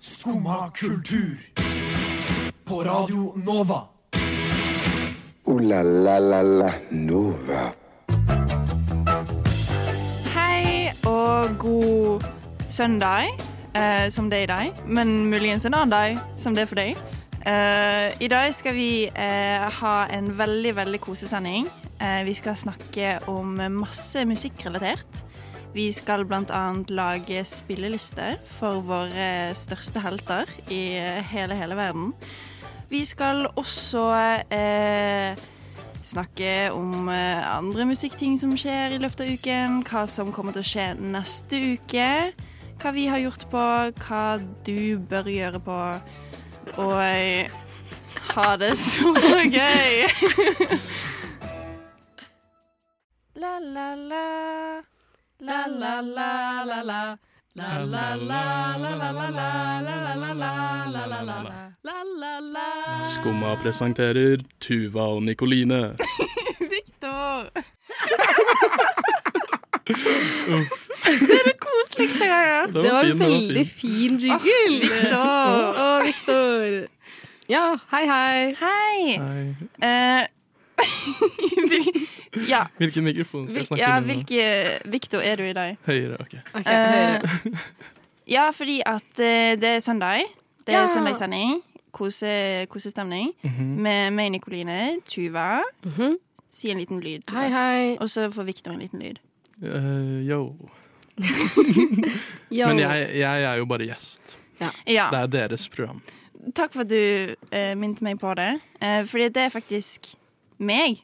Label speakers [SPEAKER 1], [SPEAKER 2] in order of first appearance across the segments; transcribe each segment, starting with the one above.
[SPEAKER 1] Skumma kultur. På Radio Nova.
[SPEAKER 2] Ooh la la la la Nova.
[SPEAKER 3] Hei og god søndag, eh, som det er i dag, men muligens en annen dag som det er for deg. Eh, I dag skal vi eh, ha en veldig, veldig kosesending. Eh, vi skal snakke om masse musikkrelatert. Vi skal bl.a. lage spillelister for våre største helter i eh, hele, hele verden. Vi skal også eh, Snakke om eh, andre musikkting som skjer i løpet av uken, hva som kommer til å skje neste uke, hva vi har gjort på, hva du bør gjøre på, og eh, ha det så gøy! la, la, la. La, la, la, la, la. La, la, la, la, la, la, la, la, la, la, la, la, la.
[SPEAKER 4] Skumma presenterer Tuva og Nikoline.
[SPEAKER 3] Victor! det er det koseligste jeg har hørt.
[SPEAKER 5] Det var en
[SPEAKER 4] fin, det
[SPEAKER 5] veldig fin
[SPEAKER 4] fin.
[SPEAKER 5] jingle.
[SPEAKER 3] Victor.
[SPEAKER 5] Å, Victor. Ja, hei, hei.
[SPEAKER 3] Hei!
[SPEAKER 4] Nei,
[SPEAKER 3] Eh, hvil- ja,
[SPEAKER 4] Hvilken mikrofon skal
[SPEAKER 3] hvil,
[SPEAKER 4] jeg snakke
[SPEAKER 3] ja,
[SPEAKER 4] inn i nå?
[SPEAKER 3] hvilke Victor er du i dag?
[SPEAKER 4] Høyre, ok.
[SPEAKER 5] Ok,
[SPEAKER 3] Eh,
[SPEAKER 5] hører.
[SPEAKER 3] ja, fordi at eh, det er søndag. Det er
[SPEAKER 5] Ja.
[SPEAKER 3] søndagssending. Kose, kosestemning. Med meg, Nikoline, Tuva.
[SPEAKER 5] Mhm.
[SPEAKER 3] Si en liten lyd. Tuva.
[SPEAKER 5] Eh, Hei, hei.
[SPEAKER 3] Og så får Victor en liten lyd.
[SPEAKER 4] Eh, yo.
[SPEAKER 5] Yo.
[SPEAKER 4] Men jeg, jeg er jo bare gjest.
[SPEAKER 3] Ja.
[SPEAKER 4] Det er deres program.
[SPEAKER 3] Takk for at du uh, minte meg på det. Eh, fordi det er faktisk meg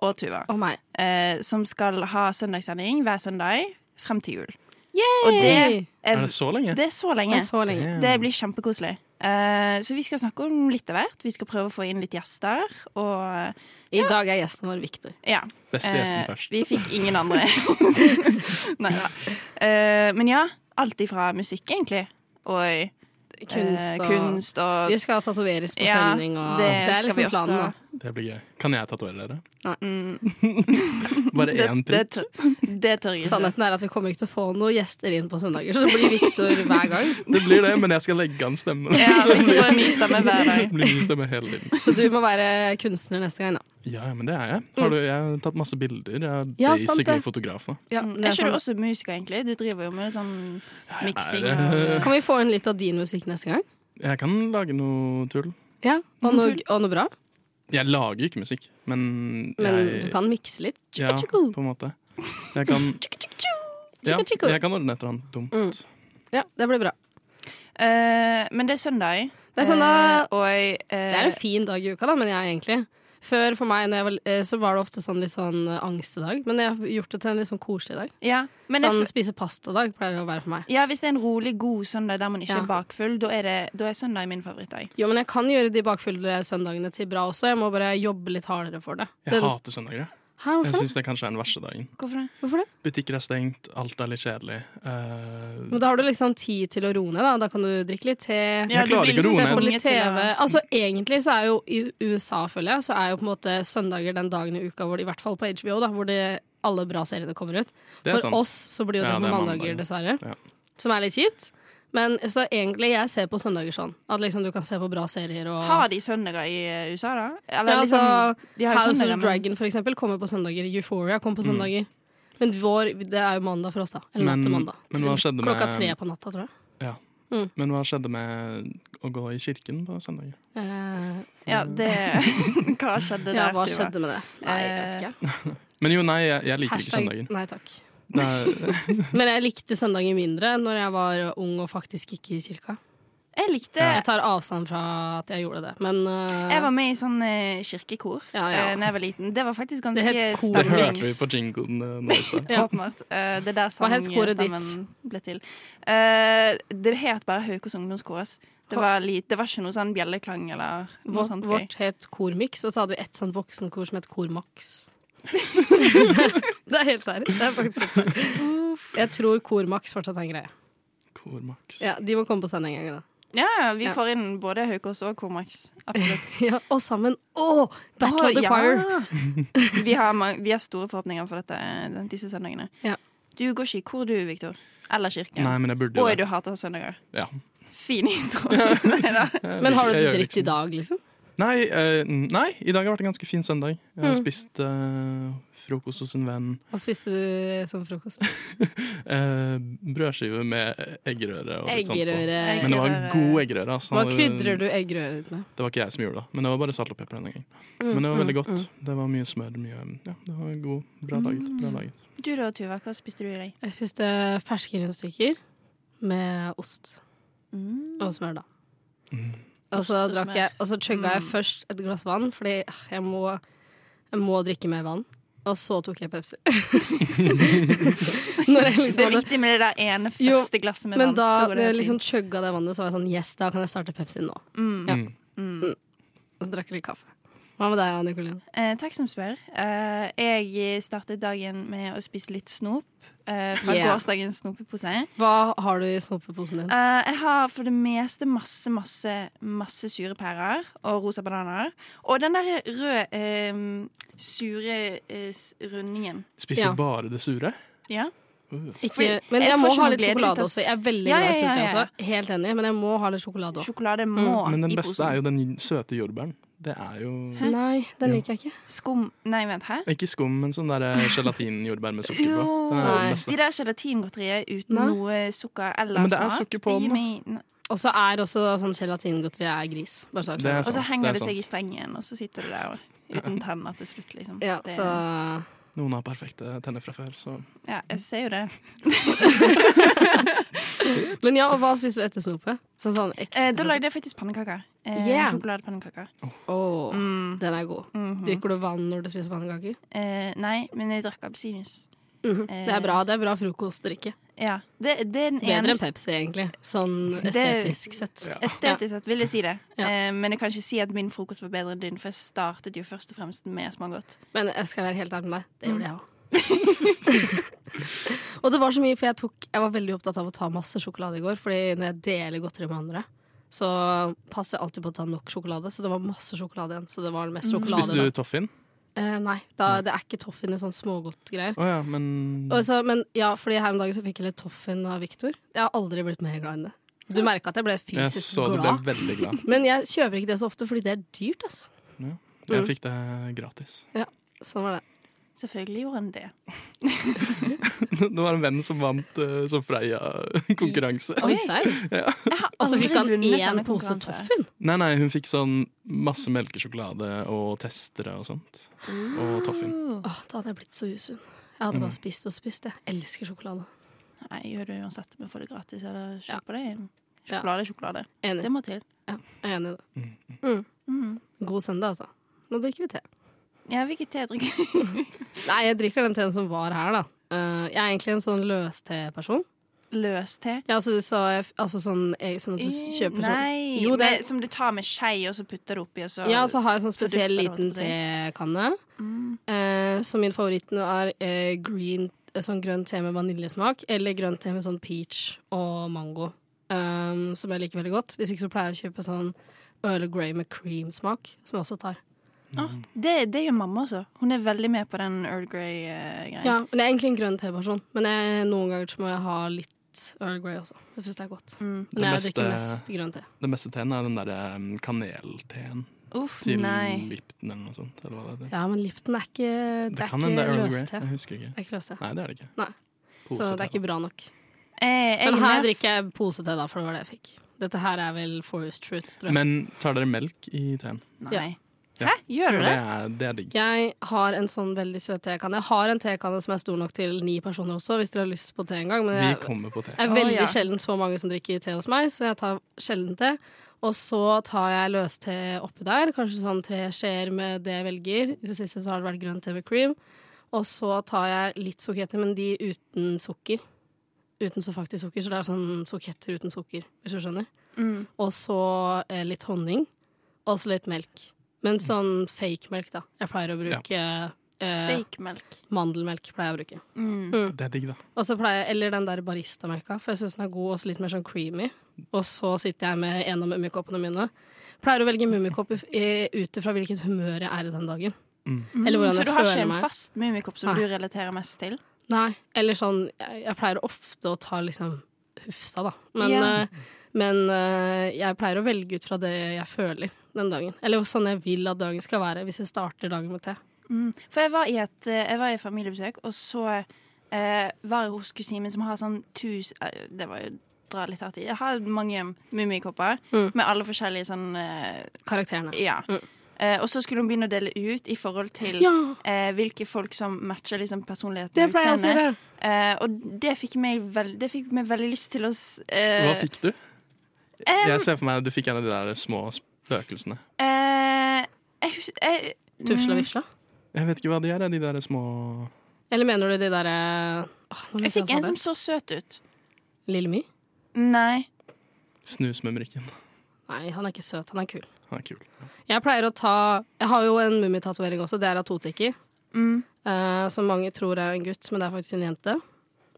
[SPEAKER 3] og Tuva
[SPEAKER 5] Å, meg.
[SPEAKER 3] eh, som skal ha søndagssending hver søndag frem til jul.
[SPEAKER 5] Yay!
[SPEAKER 3] Og det-
[SPEAKER 4] Er det så lenge?
[SPEAKER 3] det er så lenge.
[SPEAKER 5] er så lenge.
[SPEAKER 3] Det blir kjempekoselig. Eh, så vi skal snakke om litt av hvert. Vi skal prøve å få inn litt gjester. Og eh,
[SPEAKER 5] I dag er gjesten vår Victor.
[SPEAKER 3] ja.
[SPEAKER 4] Beste
[SPEAKER 3] eh,
[SPEAKER 4] gjesten først.
[SPEAKER 3] vi fikk ingen andre. Nei da. Eh, men ja. Alt ifra musikk, egentlig. Og
[SPEAKER 5] Kunst
[SPEAKER 3] eh,
[SPEAKER 5] og
[SPEAKER 3] kunst og
[SPEAKER 5] Vi skal tatoveres på
[SPEAKER 3] Ja,
[SPEAKER 5] sending, og
[SPEAKER 3] det
[SPEAKER 5] det,
[SPEAKER 3] skal
[SPEAKER 5] er liksom
[SPEAKER 3] vi også.
[SPEAKER 5] planen. da.
[SPEAKER 4] Det blir gøy. Kan jeg tatovere dere?
[SPEAKER 5] Nei.
[SPEAKER 4] Bare
[SPEAKER 3] Det,
[SPEAKER 4] én
[SPEAKER 3] det,
[SPEAKER 4] prikk?
[SPEAKER 3] tør- det tør jeg ikke.
[SPEAKER 5] Sannheten er at vi kommer ikke til å få noen gjester inn på søndager, så det blir Victor hver gang.
[SPEAKER 4] Det blir det, men jeg skal legge an stemmen.
[SPEAKER 3] Ja, Victor får en ny stemme hver
[SPEAKER 4] Det
[SPEAKER 3] dag.
[SPEAKER 4] blir min stemme hele tiden.
[SPEAKER 5] Så du må være kunstner neste gang, da.
[SPEAKER 4] Ja, ja, men det er jeg. Har du, jeg har tatt masse bilder. Jeg er
[SPEAKER 5] Ja, sant
[SPEAKER 4] basically
[SPEAKER 5] det.
[SPEAKER 4] fotograf. Da.
[SPEAKER 5] Ja,
[SPEAKER 3] Mm.
[SPEAKER 5] det
[SPEAKER 3] Er
[SPEAKER 5] er
[SPEAKER 3] ikke du
[SPEAKER 5] sånn.
[SPEAKER 3] også musiker, egentlig? Du driver jo med sånn miksing.
[SPEAKER 4] det?
[SPEAKER 3] og-
[SPEAKER 5] Kan vi få inn litt av din musikk neste gang?
[SPEAKER 4] Jeg kan lage noe tull.
[SPEAKER 5] Ja, Og noe,
[SPEAKER 3] Mm,
[SPEAKER 5] og noe bra?
[SPEAKER 4] Jeg lager ikke musikk, men,
[SPEAKER 5] Men du
[SPEAKER 4] jeg
[SPEAKER 5] kan mikse litt?
[SPEAKER 4] Ja,
[SPEAKER 5] Tjukka-tjukka.
[SPEAKER 4] på en måte. Jeg kan ja,
[SPEAKER 5] Tjukka-tjukka.
[SPEAKER 4] Jeg kan ordne et eller annet dumt.
[SPEAKER 5] Mm. Ja, det blir bra.
[SPEAKER 3] Eh, men det er søndag.
[SPEAKER 5] Det er søndag.
[SPEAKER 3] Eh, og eh,
[SPEAKER 5] Det er en fin dag i uka, da, men jeg egentlig. Før for meg når jeg var, eh, så var det ofte sånn litt sånn eh, angstedag, men jeg har gjort det til en litt sånn koselig dag.
[SPEAKER 3] ja, men jeg
[SPEAKER 5] sånn
[SPEAKER 3] f-
[SPEAKER 5] spise pasta-dag pleier det å være for meg.
[SPEAKER 3] ja, hvis det er en rolig, god søndag der man ikke
[SPEAKER 5] Ja.
[SPEAKER 3] er bakfull, da er, det, da er søndag min favorittdag.
[SPEAKER 5] Jo, men jeg kan gjøre de bakfulle søndagene til bra også, jeg må bare jobbe litt hardere for det.
[SPEAKER 4] Jeg
[SPEAKER 5] Den-
[SPEAKER 4] hater søndager. jeg.
[SPEAKER 5] Hæ,
[SPEAKER 4] Jeg
[SPEAKER 5] hvorfor, det?
[SPEAKER 4] syns det kanskje er den verste dagen.
[SPEAKER 3] Hvorfor det?
[SPEAKER 5] hvorfor det?
[SPEAKER 4] Butikker er stengt, alt er litt kjedelig. Eh,
[SPEAKER 5] Men da har du liksom tid til å roe ned, da. Da kan du drikke litt te.
[SPEAKER 4] Ja, klarer ikke å roe
[SPEAKER 5] Se på
[SPEAKER 3] liksom
[SPEAKER 4] ned.
[SPEAKER 5] litt TV. Altså, egentlig så er jo i USA, føler jeg, så er jo på en måte søndager den dagen i uka hvor det, i hvert fall på HBO, da, hvor det, alle bra seriene kommer ut.
[SPEAKER 4] det
[SPEAKER 5] For
[SPEAKER 4] er sant.
[SPEAKER 5] oss så blir jo det
[SPEAKER 4] Ja,
[SPEAKER 5] på
[SPEAKER 4] det er
[SPEAKER 5] mandager,
[SPEAKER 4] mandag.
[SPEAKER 5] dessverre.
[SPEAKER 4] Ja.
[SPEAKER 5] Som er litt kjipt. Men så egentlig, jeg ser på søndager sånn. At liksom du kan se på bra serier og
[SPEAKER 3] Har de søndager i eh, USA, da? Eller liksom-
[SPEAKER 5] ja, altså,
[SPEAKER 3] de har jo
[SPEAKER 5] House
[SPEAKER 3] søndager,
[SPEAKER 5] of
[SPEAKER 3] men-
[SPEAKER 5] Dragon, for eksempel, kommer på søndager. Euphoria kommer på søndager. Men vår, det er jo mandag for oss, da. Eller natt til
[SPEAKER 4] Mm. Men-
[SPEAKER 5] mandag.
[SPEAKER 4] men hva skjedde med-
[SPEAKER 5] Klokka tre på natta, tror jeg.
[SPEAKER 4] Men hva skjedde med å gå i kirken på søndager?
[SPEAKER 5] Eh,
[SPEAKER 3] Ja, det Hva skjedde
[SPEAKER 5] ja,
[SPEAKER 3] der,
[SPEAKER 5] hva
[SPEAKER 3] Tuva?
[SPEAKER 5] skjedde med det? Nei, jeg vet ikke.
[SPEAKER 4] Men jo, nei, jeg, jeg liker ikke
[SPEAKER 5] Hashtag
[SPEAKER 4] søndager.
[SPEAKER 5] nei takk.
[SPEAKER 4] Det er,
[SPEAKER 5] Men jeg likte søndager mindre når jeg var ung og faktisk gikk i kirka.
[SPEAKER 3] Jeg likte
[SPEAKER 5] Jeg tar avstand fra at jeg gjorde det, men eh,
[SPEAKER 3] Jeg var med i sånn eh, kirkekor da
[SPEAKER 5] Ja, ja.
[SPEAKER 3] jeg var liten. Det var faktisk ganske
[SPEAKER 5] Det het kor.
[SPEAKER 4] det
[SPEAKER 5] Stemnings.
[SPEAKER 4] hørte vi på jinglen eh, nå i stad.
[SPEAKER 5] Ja.
[SPEAKER 3] Åpenbart. Eh, det er der
[SPEAKER 5] Hva het koret
[SPEAKER 3] sangstemmen
[SPEAKER 5] ditt?
[SPEAKER 3] ble til. Eh, det het bare Haukås ungdomskor. ass. Det var, li- det var ikke noe sånn bjelleklang eller noe
[SPEAKER 5] Vårt,
[SPEAKER 3] sånt. gøy.
[SPEAKER 5] vårt het Kormix, og så hadde vi et sånt voksenkor som het Kormax. det er helt seriøst. Det er faktisk helt seriøst. Jeg tror Kormax fortsatt er en greie.
[SPEAKER 4] Kormaks.
[SPEAKER 5] Ja, De må komme på sending en gang, da.
[SPEAKER 3] Ja, vi
[SPEAKER 5] Ja.
[SPEAKER 3] får inn både Haukås og Kormax. Absolutt.
[SPEAKER 5] Ja, og sammen Å! Battle
[SPEAKER 3] Å,
[SPEAKER 5] of the
[SPEAKER 3] ja.
[SPEAKER 5] Choir!
[SPEAKER 3] Vi har, ma- vi har store forhåpninger for dette, den- eh, disse søndagene.
[SPEAKER 5] Ja.
[SPEAKER 3] Du går ikke i kor, du, Viktor. Eller kirken.
[SPEAKER 4] Nei, men jeg burde
[SPEAKER 3] Oi,
[SPEAKER 4] jo det.
[SPEAKER 3] du hater søndager.
[SPEAKER 4] Ja.
[SPEAKER 3] Fin intro. Nei da.
[SPEAKER 5] Men har du
[SPEAKER 4] Jeg
[SPEAKER 5] det
[SPEAKER 4] gjør
[SPEAKER 5] dritt
[SPEAKER 4] liksom-
[SPEAKER 5] i dag, liksom?
[SPEAKER 4] Nei, eh, nei, i dag har vært en ganske fin søndag. Jeg har
[SPEAKER 5] Mm.
[SPEAKER 4] spist eh, frokost hos en venn.
[SPEAKER 5] Hva spiste du som frokost?
[SPEAKER 4] Eh, brødskive med eggerøre. Og litt sånt på.
[SPEAKER 5] Eggerøre.
[SPEAKER 4] Men det var en god eggerøre. altså.
[SPEAKER 5] Hva krydrer du eggerøret ditt med?
[SPEAKER 4] Det var ikke jeg som gjorde det, men det var bare salt og pepper denne gangen.
[SPEAKER 5] Mm,
[SPEAKER 4] Men det var veldig godt. Det var mye smør. mye... Ja, det var en god,
[SPEAKER 5] Mm.
[SPEAKER 4] bra laget. Bra laget.
[SPEAKER 3] Du da, Tuva, hva spiste du i dag?
[SPEAKER 5] Jeg spiste ferske rundstykker med ost og smør, da. Og så
[SPEAKER 3] Mm. Ost og
[SPEAKER 5] drakk
[SPEAKER 3] smør. Mm.
[SPEAKER 5] jeg Og så chugga jeg først et glass vann, fordi ah, jeg må, jeg må drikke mer vann. Og så tok jeg Pepsi. Når jeg
[SPEAKER 3] Det
[SPEAKER 5] liksom
[SPEAKER 3] er
[SPEAKER 5] hadde
[SPEAKER 3] viktig med det der ene
[SPEAKER 5] Jo,
[SPEAKER 3] første glasset med
[SPEAKER 5] Men
[SPEAKER 3] vann.
[SPEAKER 5] da
[SPEAKER 3] så går
[SPEAKER 5] når
[SPEAKER 3] det
[SPEAKER 5] jeg
[SPEAKER 3] helt
[SPEAKER 5] liksom chugga det vannet, så var jeg sånn Yes, da kan jeg starte Pepsi nå.
[SPEAKER 3] fint. Mm.
[SPEAKER 5] Ja.
[SPEAKER 4] Mm.
[SPEAKER 5] Og så drakk jeg litt kaffe. Hva med deg, Nikoline?
[SPEAKER 3] Eh, takk som spør. Eh, jeg startet dagen med å spise litt snop. eh, fra
[SPEAKER 5] Yeah.
[SPEAKER 3] gårsdagens snopepose.
[SPEAKER 5] Hva har du i snopeposen din?
[SPEAKER 3] Eh, jeg har for det meste masse, masse, masse sure pærer og rosa bananer. Og den der røde, eh, sure eh, s- rundingen.
[SPEAKER 4] Spiser
[SPEAKER 5] Ja.
[SPEAKER 4] bare det sure?
[SPEAKER 3] Ja.
[SPEAKER 5] Ikke,
[SPEAKER 3] fordi
[SPEAKER 5] men
[SPEAKER 3] jeg
[SPEAKER 5] jeg
[SPEAKER 3] får
[SPEAKER 5] må
[SPEAKER 3] ikke
[SPEAKER 5] ha
[SPEAKER 3] noe
[SPEAKER 5] litt
[SPEAKER 3] glede ut
[SPEAKER 5] sjokolade
[SPEAKER 3] av s-
[SPEAKER 5] også. Jeg er veldig
[SPEAKER 3] Ja,
[SPEAKER 5] glad i
[SPEAKER 3] ja, ja,
[SPEAKER 5] sulte,
[SPEAKER 3] ja.
[SPEAKER 5] altså. Helt enig, men jeg må ha litt sjokolade òg.
[SPEAKER 3] Sjokolade må
[SPEAKER 4] Men den
[SPEAKER 3] i
[SPEAKER 4] beste
[SPEAKER 3] posen.
[SPEAKER 4] er jo den søte jordbæren. Det er jo
[SPEAKER 5] Nei, den liker jeg ikke.
[SPEAKER 3] Skum Nei, vent, hæ?
[SPEAKER 4] Ikke skum, men sånn der gelatinjordbær med sukker på.
[SPEAKER 3] Jo.
[SPEAKER 4] Den er
[SPEAKER 5] Nei.
[SPEAKER 4] den
[SPEAKER 3] De
[SPEAKER 4] beste.
[SPEAKER 3] der gelatingodteriet uten
[SPEAKER 5] Nei.
[SPEAKER 3] noe sukker eller
[SPEAKER 4] Men det er
[SPEAKER 3] smak,
[SPEAKER 4] sukker på
[SPEAKER 3] gir
[SPEAKER 4] den, da.
[SPEAKER 3] meg- Nei.
[SPEAKER 5] Og så er også sånn gelatingodteri er gris. Bare så
[SPEAKER 4] Det
[SPEAKER 5] det
[SPEAKER 4] er
[SPEAKER 5] er
[SPEAKER 3] Og så
[SPEAKER 4] sant,
[SPEAKER 3] henger
[SPEAKER 4] det
[SPEAKER 3] det,
[SPEAKER 4] er
[SPEAKER 3] seg i strengen, og så sitter du der og- uten tenner til slutt, liksom.
[SPEAKER 5] ja,
[SPEAKER 3] det,
[SPEAKER 5] så
[SPEAKER 4] Noen har perfekte tenner fra før, så
[SPEAKER 3] ja, jeg ser jo det.
[SPEAKER 5] Men ja, og hva spiser du etter snopet? Sånn sånn ekte
[SPEAKER 3] Eh, da lagde jeg faktisk pannekaker. Eh,
[SPEAKER 5] Yeah.
[SPEAKER 3] Sjokoladepannekaker.
[SPEAKER 5] Åh,
[SPEAKER 3] Mm.
[SPEAKER 5] Den er god.
[SPEAKER 3] Mhm.
[SPEAKER 5] Drikker du vann når du spiser pannekaker?
[SPEAKER 3] Eh, nei, men jeg drakk appelsinjuice.
[SPEAKER 5] Mhm. Det er bra det er bra frokostdrikke.
[SPEAKER 3] Ja. Det, Eh. det er den
[SPEAKER 5] Bedre enn
[SPEAKER 3] eneste
[SPEAKER 5] Pepsi, egentlig. Sånn estetisk sett.
[SPEAKER 4] Ja.
[SPEAKER 3] Estetisk sett vil jeg si det.
[SPEAKER 5] Ja.
[SPEAKER 3] Eh, men jeg kan ikke si at min frokost var bedre enn din, for jeg startet jo først og fremst med smågodt.
[SPEAKER 5] Men jeg skal være helt ærlig med deg, det gjorde jeg òg. og det var så mye, for jeg, tok, jeg var veldig opptatt av å ta masse sjokolade i går. Fordi når jeg deler godteri med andre, så passer jeg alltid på å ta nok sjokolade. Så det var masse sjokolade igjen. Så det var mest sjokolade
[SPEAKER 4] Spiste du toffin?
[SPEAKER 5] da. Eh, nei, da, det er ikke toffin i sånn smågodtgreier.
[SPEAKER 4] Å ja, men
[SPEAKER 5] Og så- Men ja, fordi her om dagen så fikk jeg litt toffin av Victor. Jeg har aldri blitt mer glad enn det. Du merka at jeg ble
[SPEAKER 4] Jeg
[SPEAKER 5] fysisk
[SPEAKER 4] så du ble
[SPEAKER 5] glad.
[SPEAKER 4] veldig glad.
[SPEAKER 5] Men jeg kjøper ikke det så ofte, fordi det er dyrt, ass.
[SPEAKER 4] Jeg fikk det gratis.
[SPEAKER 5] Sånn var det.
[SPEAKER 3] Selvfølgelig gjorde han det.
[SPEAKER 4] Det var en venn som vant eh, sånn Freia-konkurranse.
[SPEAKER 5] Oi, serr?
[SPEAKER 3] Jeg har
[SPEAKER 5] Og så
[SPEAKER 3] aldri
[SPEAKER 5] fikk han
[SPEAKER 3] vunnet sånne
[SPEAKER 5] én pose
[SPEAKER 3] konkurranser.
[SPEAKER 5] toffin.
[SPEAKER 4] Nei, nei, hun fikk sånn masse melkesjokolade og testere og sånt. Og toffin.
[SPEAKER 5] Åh, da hadde jeg blitt så usunn. Jeg hadde bare spist og spist. Jeg elsker sjokolade.
[SPEAKER 3] Nei, gjør det uansett om jeg får det gratis eller
[SPEAKER 5] Ja.
[SPEAKER 3] kjøper det.
[SPEAKER 5] Ja.
[SPEAKER 3] Sjokolade er sjokolade. Det
[SPEAKER 5] Enig.
[SPEAKER 3] må til.
[SPEAKER 5] Ja, jeg er enig i det. Mm. God søndag, altså. Nå drikker vi te.
[SPEAKER 3] Ja, hvilket te drikker
[SPEAKER 5] Nei, jeg drikker den teen som var her, da. Eh, jeg er egentlig en sånn løste-person.
[SPEAKER 3] Løs te?
[SPEAKER 5] Ja, altså, så jeg, altså sånn, jeg, sånn at du s- kjøper sånn
[SPEAKER 3] Nei,
[SPEAKER 5] Jo, det-
[SPEAKER 3] men som du tar med skei, og så putter det oppi, og så
[SPEAKER 5] Ja, så har jeg sånn
[SPEAKER 3] Fordufter,
[SPEAKER 5] spesiell
[SPEAKER 3] holdt
[SPEAKER 5] liten
[SPEAKER 3] jeg på å si.
[SPEAKER 5] tekanne. Eh, så min favoritt nå er eh, green, eh, sånn grønn te med vaniljesmak, eller grønn te med sånn peach og mango, ehm, som jeg liker veldig godt. Hvis ikke så pleier jeg å kjøpe sånn Earl Grey med cream-smak, som jeg også tar.
[SPEAKER 3] Ah, det, det gjør mamma også. Hun er veldig med på den Earl eh, Grey-greia.
[SPEAKER 5] Ja, men Jeg er egentlig en grønn teperson, men jeg, noen ganger så må jeg ha litt Earl Grey også. Jeg syns det er godt.
[SPEAKER 4] Det
[SPEAKER 5] Men jeg drikker mest
[SPEAKER 4] beste-
[SPEAKER 5] grønn te.
[SPEAKER 4] Den beste teen er den derre eh, kanelteen
[SPEAKER 3] Uff,
[SPEAKER 4] til
[SPEAKER 3] nei.
[SPEAKER 4] Lipton eller noe sånt. Eller hva det heter.
[SPEAKER 5] Ja, men Lipton er ikke Det,
[SPEAKER 4] Det
[SPEAKER 5] er
[SPEAKER 4] kan hende
[SPEAKER 5] ikke
[SPEAKER 4] det er Earl Grey.
[SPEAKER 5] løste.
[SPEAKER 4] Jeg husker ikke.
[SPEAKER 5] Det er ikke løste.
[SPEAKER 4] Nei, det er det ikke.
[SPEAKER 5] Nei. Så
[SPEAKER 4] Pose
[SPEAKER 5] det er
[SPEAKER 4] te,
[SPEAKER 5] ikke bra nok.
[SPEAKER 3] Eh, jeg
[SPEAKER 5] Men
[SPEAKER 3] er
[SPEAKER 5] her
[SPEAKER 3] med-
[SPEAKER 5] drikker jeg posete, da, for det var det jeg fikk. Dette her er vel Forest Truth, tror
[SPEAKER 4] da.
[SPEAKER 5] jeg.
[SPEAKER 4] Men tar dere melk i teen?
[SPEAKER 3] Nei.
[SPEAKER 4] Ja.
[SPEAKER 3] Hæ, gjør
[SPEAKER 4] For
[SPEAKER 3] du
[SPEAKER 4] det
[SPEAKER 3] det?
[SPEAKER 4] er, det er digg.
[SPEAKER 5] Jeg har en sånn veldig søt tekanne. Jeg har en tekanne som er stor nok til ni personer også, hvis dere har lyst på te en gang. Men
[SPEAKER 4] Vi
[SPEAKER 5] jeg
[SPEAKER 4] kommer på te.
[SPEAKER 5] er
[SPEAKER 3] Å,
[SPEAKER 5] veldig
[SPEAKER 3] ja.
[SPEAKER 5] sjelden så mange som drikker te hos meg, så jeg tar sjelden te. Og så tar jeg løste oppi der, kanskje sånn tre skjeer med det jeg velger. I det siste så har det vært grønn te med cream. Og så tar jeg litt sukketter, men de uten sukker. Uten så faktisk sukker, så det er sånn sukketter uten sukker, hvis du skjønner.
[SPEAKER 3] Mm.
[SPEAKER 5] og så eh, litt honning, og så litt melk. Men sånn fake melk, da. Jeg pleier å bruke eh,
[SPEAKER 3] Fake melk.
[SPEAKER 5] mandelmelk. pleier jeg å bruke.
[SPEAKER 3] Mm.
[SPEAKER 4] Det er digg, da.
[SPEAKER 5] Og så pleier jeg, Eller den der baristamelka, for jeg syns den er god, og så litt mer sånn creamy. Og så sitter jeg med en av mummikoppene mine. Pleier å velge mummikopp ut ifra hvilket humør jeg er i den dagen. Eller hvordan
[SPEAKER 3] Mm. så
[SPEAKER 5] jeg
[SPEAKER 3] du har ikke
[SPEAKER 5] føler
[SPEAKER 3] en
[SPEAKER 5] meg. Ah.
[SPEAKER 3] fast mummikopp som
[SPEAKER 5] Nei.
[SPEAKER 3] du relaterer mest til?
[SPEAKER 5] Nei, eller sånn Jeg, jeg pleier ofte å ta liksom Hufsa, da. Men,
[SPEAKER 3] Ja.
[SPEAKER 5] eh, men eh, jeg pleier å velge ut fra det jeg føler den dagen. Eller sånn jeg vil at dagen skal være, hvis jeg starter dagen med te.
[SPEAKER 3] Mm. For jeg var i et, eh, jeg var i et familiebesøk, og så eh, var jeg hos kusinen min som har sånn tusen eh, Det var jo dra litt hardt i. Jeg har mange mummikopper
[SPEAKER 5] Mm.
[SPEAKER 3] med alle forskjellige sånn eh,
[SPEAKER 5] Karakterene.
[SPEAKER 3] Ja.
[SPEAKER 5] Mm.
[SPEAKER 3] Eh, og så skulle hun begynne å dele ut i forhold til
[SPEAKER 5] Ja,
[SPEAKER 3] eh, hvilke folk som matcher liksom, personligheten.
[SPEAKER 5] det
[SPEAKER 3] og
[SPEAKER 5] pleier jeg også å
[SPEAKER 3] utseendet.
[SPEAKER 5] gjøre.
[SPEAKER 3] Eh, og det fikk, meg vel, det fikk meg veldig lyst til å s- eh,
[SPEAKER 4] Hva fikk du? Jeg ser for meg at du fikk en av de der små spøkelsene.
[SPEAKER 3] eh, jeg hus- jeg-
[SPEAKER 5] Tufsel og
[SPEAKER 3] mm,
[SPEAKER 5] vifsla.
[SPEAKER 4] Jeg vet ikke hva de er, de der små
[SPEAKER 5] Eller mener du de eh, derre
[SPEAKER 3] mm, Jeg
[SPEAKER 5] liksom,
[SPEAKER 3] fikk
[SPEAKER 5] sånn
[SPEAKER 3] en som så søt ut.
[SPEAKER 5] Lille My?
[SPEAKER 3] Nei.
[SPEAKER 4] snusmumrikken.
[SPEAKER 5] Nei, han er ikke søt, han er kul.
[SPEAKER 4] Han er kul.
[SPEAKER 5] Jeg pleier å ta Jeg har jo en mummitatovering også, det er av Toteki.
[SPEAKER 3] Mm.
[SPEAKER 5] eh, som mange tror er en gutt, men det er faktisk en jente.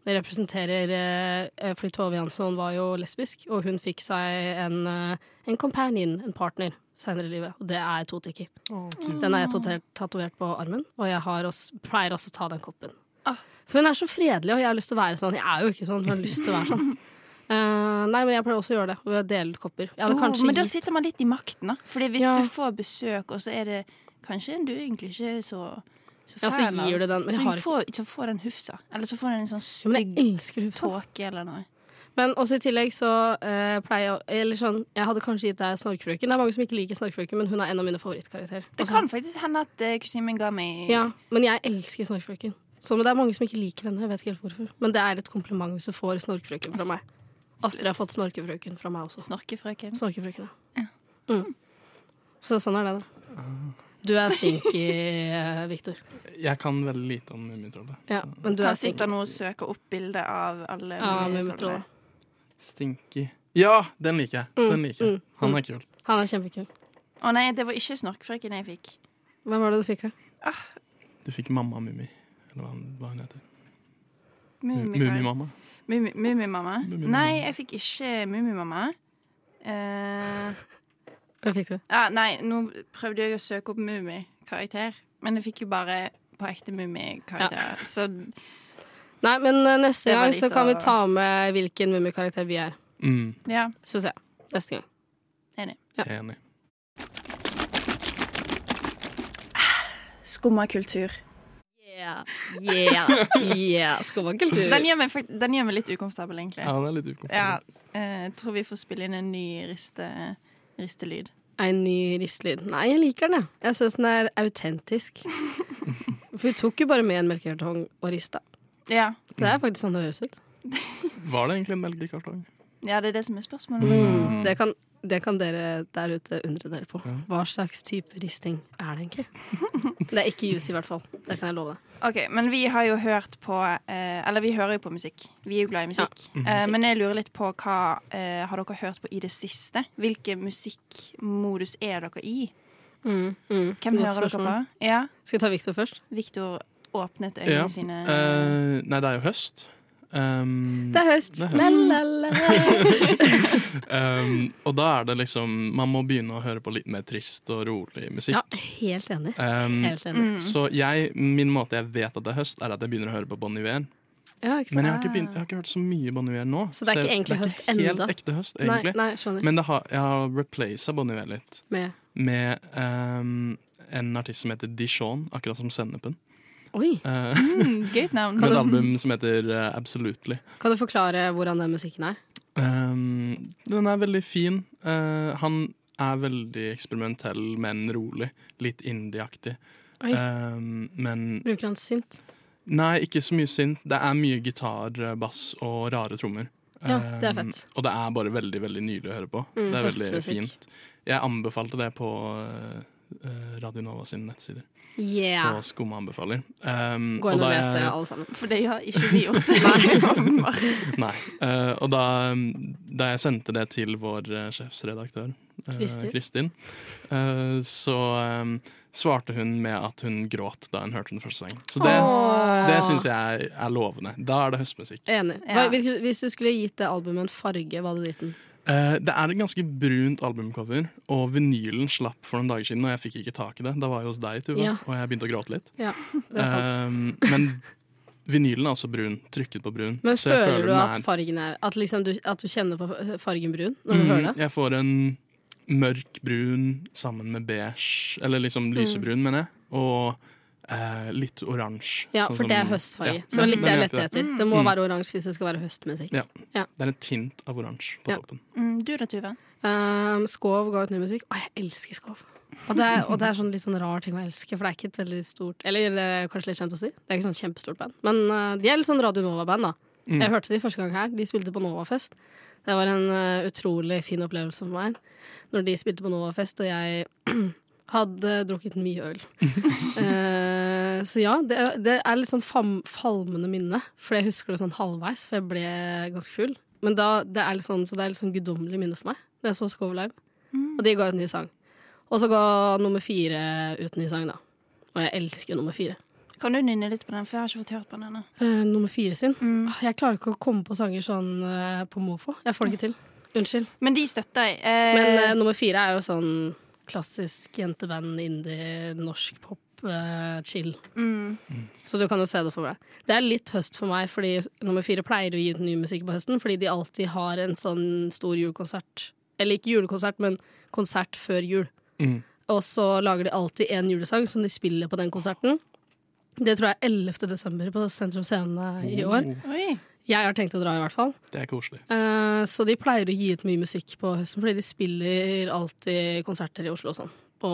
[SPEAKER 5] Det representerer eh, Fordi Tove Jansson var jo lesbisk, og hun fikk seg en, eh, en companion, en partner, senere i livet. Og det er Toteki. Den er jeg toter- tatovert på armen, og jeg har også, pleier også å ta den koppen.
[SPEAKER 3] Ah.
[SPEAKER 5] For hun er så fredelig, og jeg har lyst til å være sånn. Jeg er jo ikke sånn, men jeg har lyst til å være sånn. Eh, nei, men jeg pleier også å gjøre det, ved å dele ut kopper. Jeg hadde
[SPEAKER 3] Oh,
[SPEAKER 5] kanskje
[SPEAKER 3] men da
[SPEAKER 5] gitt-
[SPEAKER 3] sitter man litt i makten, da. Fordi hvis
[SPEAKER 5] Ja.
[SPEAKER 3] du får besøk, og så er det kanskje en du egentlig ikke er så, så
[SPEAKER 5] Ja, så
[SPEAKER 3] fan av.
[SPEAKER 5] gir du den, men jeg
[SPEAKER 3] så,
[SPEAKER 5] har ikke-
[SPEAKER 3] får, så får den hufsa. Eller så får den en sånn
[SPEAKER 5] Ja, Men
[SPEAKER 3] stygg
[SPEAKER 5] jeg elsker sånn. hufsa.
[SPEAKER 3] tåke eller noe.
[SPEAKER 5] Men også i tillegg så eh, pleier jeg å- Eller sånn, jeg hadde kanskje gitt deg Snorkfrøken. Det er mange som ikke liker Snorkfrøken, men hun er en av mine favorittkarakterer.
[SPEAKER 3] Det
[SPEAKER 5] Altså,
[SPEAKER 3] kan faktisk hende at eh, kusinen min ga meg
[SPEAKER 5] Ja, men jeg elsker Snorkfrøken. Så men det er mange som ikke liker henne. Jeg vet ikke helt hvorfor. Men det er et kompliment hvis du får Snorkfrøken fra meg. Astrid har fått Snorkefrøken fra meg også.
[SPEAKER 3] snorkefrøken.
[SPEAKER 5] Snorkefrøken, ja. Mm. Så sånn er det, da. Du er stinky, eh, Victor.
[SPEAKER 4] Jeg kan veldig lite om Mummitrollet.
[SPEAKER 5] Ja, men du
[SPEAKER 3] Her
[SPEAKER 5] er stinky.
[SPEAKER 3] sitter nå og søker opp bilder av alle
[SPEAKER 5] Ja,
[SPEAKER 3] mulige
[SPEAKER 5] Mummitrollet.
[SPEAKER 4] Stinky. Ja, den liker jeg.
[SPEAKER 3] Mm,
[SPEAKER 4] Den liker jeg. Han er kul.
[SPEAKER 5] Han er kjempekul.
[SPEAKER 3] troller. Å nei, det var ikke snorkfrøken jeg fikk. Ah,
[SPEAKER 5] Hvem var det du fikk av?
[SPEAKER 4] Du fikk Mamma Mummi, eller hva, hva hun heter.
[SPEAKER 3] Mummi-
[SPEAKER 4] Mummimamma.
[SPEAKER 3] Mummi- Mummimamma?
[SPEAKER 4] Mummimamma.
[SPEAKER 3] Nei, jeg fikk ikke Mummimamma. Eh,
[SPEAKER 5] Hvem fikk du?
[SPEAKER 3] ja, nei, nå prøvde jeg å søke opp Mummi-karakter, men jeg fikk jo bare på ekte Mummi-karakter. Så
[SPEAKER 5] Nei, men eh, neste
[SPEAKER 3] Det var
[SPEAKER 5] gang
[SPEAKER 3] litt
[SPEAKER 5] så kan vi
[SPEAKER 3] av-
[SPEAKER 5] ta med hvilken mummikarakter vi er.
[SPEAKER 4] Mm,
[SPEAKER 3] ja,
[SPEAKER 5] Syns jeg. Neste gang.
[SPEAKER 4] jeg er enig.
[SPEAKER 3] skumma kultur.
[SPEAKER 5] Yeah, yeah, yeah. Skummakultur.
[SPEAKER 3] Den gjør, meg, fakt- den gjør meg litt ukomfortabel, egentlig.
[SPEAKER 4] Ja, han er litt
[SPEAKER 3] Ja,
[SPEAKER 4] ukomfortabel.
[SPEAKER 3] eh, jeg tror vi får spille inn en ny riste, ristelyd.
[SPEAKER 5] En ny ristelyd. Nei, jeg liker den, jeg. Jeg syns den er autentisk. For vi tok jo bare med en melkekartong og rista.
[SPEAKER 3] Ja.
[SPEAKER 5] Det er faktisk sånn det høres ut.
[SPEAKER 4] Var det egentlig en melkekartong?
[SPEAKER 3] ja, det er det som er spørsmålet.
[SPEAKER 5] Det, kan, det kan dere der ute undre dere på. Hva slags type risting er det egentlig? Det er ikke juice, i hvert fall. Det kan jeg love deg.
[SPEAKER 3] Ok, Men vi har jo hørt på eh, Eller vi hører jo på musikk. Vi er jo glad i musikk. Eh, men jeg lurer litt på hva eh, har dere hørt på i det siste? Hvilken musikkmodus er dere i?
[SPEAKER 5] Mm,
[SPEAKER 3] Hvem
[SPEAKER 5] Godt
[SPEAKER 3] hører dere på?
[SPEAKER 5] spørsmål.
[SPEAKER 3] Ja,
[SPEAKER 5] Skal vi ta Victor først?
[SPEAKER 3] Viktor åpnet øynene
[SPEAKER 4] Ja.
[SPEAKER 3] sine.
[SPEAKER 4] Eh, nei, det er jo høst. Um,
[SPEAKER 5] Det er høst.
[SPEAKER 4] Det er høst.
[SPEAKER 5] La, la, la.
[SPEAKER 4] um, og da er det liksom Man må begynne å høre på litt mer trist og rolig musikk.
[SPEAKER 5] Ja, helt enig.
[SPEAKER 4] Um,
[SPEAKER 5] Helt enig.
[SPEAKER 4] så jeg, min måte jeg vet at det er høst, er at jeg begynner å høre på Bon Iver.
[SPEAKER 5] Ja, ikke sant?
[SPEAKER 4] Men jeg har ikke, begynt, jeg har ikke hørt så mye Bon Iver nå.
[SPEAKER 5] Så det er ikke
[SPEAKER 4] jeg-
[SPEAKER 5] egentlig
[SPEAKER 4] det er
[SPEAKER 5] høst
[SPEAKER 4] ikke helt
[SPEAKER 5] enda.
[SPEAKER 4] ekte høst,
[SPEAKER 5] Nei,
[SPEAKER 4] egentlig.
[SPEAKER 5] nei, skjønner.
[SPEAKER 4] Men det har, jeg har replacet Bon Iver litt
[SPEAKER 5] Med
[SPEAKER 4] med um, en artist som heter Dijon, akkurat som Sennepen.
[SPEAKER 5] Oi!
[SPEAKER 4] Eh,
[SPEAKER 3] Mm, Gøyt navn.
[SPEAKER 4] med et album som heter eh, Absolutely.
[SPEAKER 5] Kan du forklare hvordan den musikken er?
[SPEAKER 4] Um, den er veldig fin. Eh, han er veldig eksperimentell, men rolig. Litt indieaktig.
[SPEAKER 5] Oi.
[SPEAKER 4] Um, men
[SPEAKER 5] Bruker han synt?
[SPEAKER 4] Nei, ikke så mye synt. Det er mye gitar, eh, bass og rare trommer.
[SPEAKER 5] Ja, det er
[SPEAKER 4] Um,
[SPEAKER 5] fett. Mm,
[SPEAKER 4] og det er bare veldig veldig nydelig å høre på. det er veldig
[SPEAKER 5] høstmusikk.
[SPEAKER 4] fint. Jeg anbefalte det på eh, eh, Radio Nova sine nettsider.
[SPEAKER 5] Yeah!
[SPEAKER 4] Og Skumma anbefaler. Um,
[SPEAKER 5] Gå inn og les det,
[SPEAKER 4] jeg-
[SPEAKER 5] alle sammen.
[SPEAKER 3] For det har ikke vi gjort. Nei.
[SPEAKER 4] Nei. Eh, og da, um, da jeg sendte det til vår eh, sjefsredaktør, eh,
[SPEAKER 5] Kristin.
[SPEAKER 4] Kristin, eh, så um, svarte hun med at hun gråt da hun hørte den første sangen. Så det, det syns jeg er lovende. Da er det høstmusikk.
[SPEAKER 5] Enig. Hva,
[SPEAKER 3] Ja.
[SPEAKER 5] hvilke- Hvis du skulle gitt det albumet en farge, hva hadde du gitt den?
[SPEAKER 4] Eh, det er et ganske brunt albumcover, og vinylen slapp for noen dager siden, og jeg fikk ikke tak i det. Da var jeg hos deg, Tuva,
[SPEAKER 5] Ja.
[SPEAKER 4] og jeg begynte å gråte litt.
[SPEAKER 5] Ja, det er sant.
[SPEAKER 4] Eh, men Vinylen er også brun, trykket på brun.
[SPEAKER 5] Men
[SPEAKER 4] så jeg
[SPEAKER 5] føler du
[SPEAKER 4] den
[SPEAKER 5] at
[SPEAKER 4] er-
[SPEAKER 5] fargen er At, liksom du, at du kjenner på fargen brun når du hører
[SPEAKER 4] Mm,
[SPEAKER 5] det?
[SPEAKER 4] Jeg får en mørk brun sammen med beige, eller
[SPEAKER 5] Mm.
[SPEAKER 4] liksom lysebrun, mener jeg. Og eh, litt oransje.
[SPEAKER 5] Ja,
[SPEAKER 4] sånn
[SPEAKER 5] for det er
[SPEAKER 4] som-
[SPEAKER 5] høstfarge.
[SPEAKER 4] Ja,
[SPEAKER 5] Så litt
[SPEAKER 4] den
[SPEAKER 5] det jeg
[SPEAKER 4] heter
[SPEAKER 5] lette
[SPEAKER 4] det. Mm.
[SPEAKER 5] etter. Det må være oransje hvis det skal være høstmusikk.
[SPEAKER 4] Ja. Det er en tint av oransje på
[SPEAKER 5] Ja.
[SPEAKER 4] toppen.
[SPEAKER 3] Mm, du da, Tuve?
[SPEAKER 5] Um, Skov ga ut ny musikk. Å, jeg elsker Skov. Og det, er, og det er sånn litt sånn rar ting å elske, for det er ikke et veldig stort Eller det er kanskje litt kjent å si. Det er ikke sånn kjempestort band. Men uh, de er litt sånn Radio Nova-band, da. Jeg hørte de første gang her. De spilte på Novafest. Det var en uh, utrolig fin opplevelse for meg når de spilte på Novafest, og jeg hadde drukket mye øl. Eh, så ja, det, det er litt sånn fam, falmende minne, for jeg husker det sånn halvveis, for jeg ble ganske full. Men da, det er litt sånn, så det er litt sånn guddommelig minne for meg. Det er så Skov Live. Og de ga ut ny sang. Og så ga nummer fire ut ny sang, da. Og jeg elsker nummer fire.
[SPEAKER 3] Kan du nynne litt på den, for jeg har ikke fått hørt på den ennå.
[SPEAKER 5] Eh, nummer fire sin. Åh, Jeg klarer ikke å komme på sanger sånn eh, på måfå. Jeg får det ikke til. Unnskyld.
[SPEAKER 3] Men de støtter jeg. Eh,
[SPEAKER 5] Men eh, nummer fire er jo sånn klassisk jenteband, indie, norsk pop, eh, chill.
[SPEAKER 3] mm.
[SPEAKER 5] Så du kan jo se det for deg. Det er litt høst for meg, fordi nummer fire pleier å gi ut ny musikk på høsten, fordi de alltid har en sånn stor julekonsert. Eller ikke julekonsert, men konsert før jul.
[SPEAKER 4] Mm.
[SPEAKER 5] Og så lager de alltid en julesang som de spiller på den konserten. Det tror jeg er 11. desember på Sentrum Scene i år.
[SPEAKER 4] Oh,
[SPEAKER 3] Oi.
[SPEAKER 5] Jeg har tenkt å dra, i hvert fall.
[SPEAKER 4] det er koselig.
[SPEAKER 5] Eh, Så de pleier å gi ut mye musikk på høsten, fordi de spiller alltid konserter i Oslo og sånn på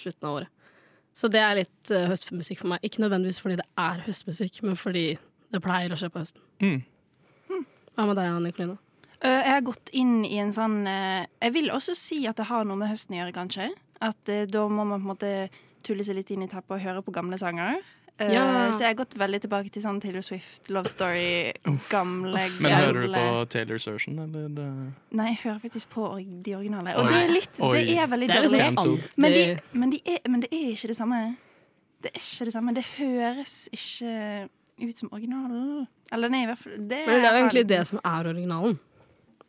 [SPEAKER 5] slutten av året. Så det er litt eh, høstmusikk for meg. Ikke nødvendigvis fordi det er høstmusikk, men fordi det pleier å skje på høsten.
[SPEAKER 4] Mm.
[SPEAKER 5] Hva med deg, Anne Nicoline?
[SPEAKER 3] Eh, jeg har gått inn i en sånn eh, Jeg vil også si at det har noe med høsten å gjøre, kanskje. At eh, da må man på en måte tulle seg litt inn i teppet og høre på gamle sanger. Eh,
[SPEAKER 5] Ja.
[SPEAKER 3] Så jeg har gått veldig tilbake til sånn Taylor Swift, Love Story, gamle,
[SPEAKER 4] Men
[SPEAKER 3] gamle
[SPEAKER 4] hører du på Taylor's version, eller? eh,
[SPEAKER 3] Nei, jeg hører faktisk på or- de originale. Og
[SPEAKER 4] Oi.
[SPEAKER 3] det er litt Det
[SPEAKER 4] Oi.
[SPEAKER 3] er veldig
[SPEAKER 5] Det er
[SPEAKER 3] dårlig.
[SPEAKER 5] liksom
[SPEAKER 4] Cancelled.
[SPEAKER 5] alltid-
[SPEAKER 3] Men, de, men, de er, men det er ikke det samme. Det er ikke det samme. Det høres ikke ut som originalen. Eller nei, i hvert fall det,
[SPEAKER 5] Men det er jo egentlig det som er originalen.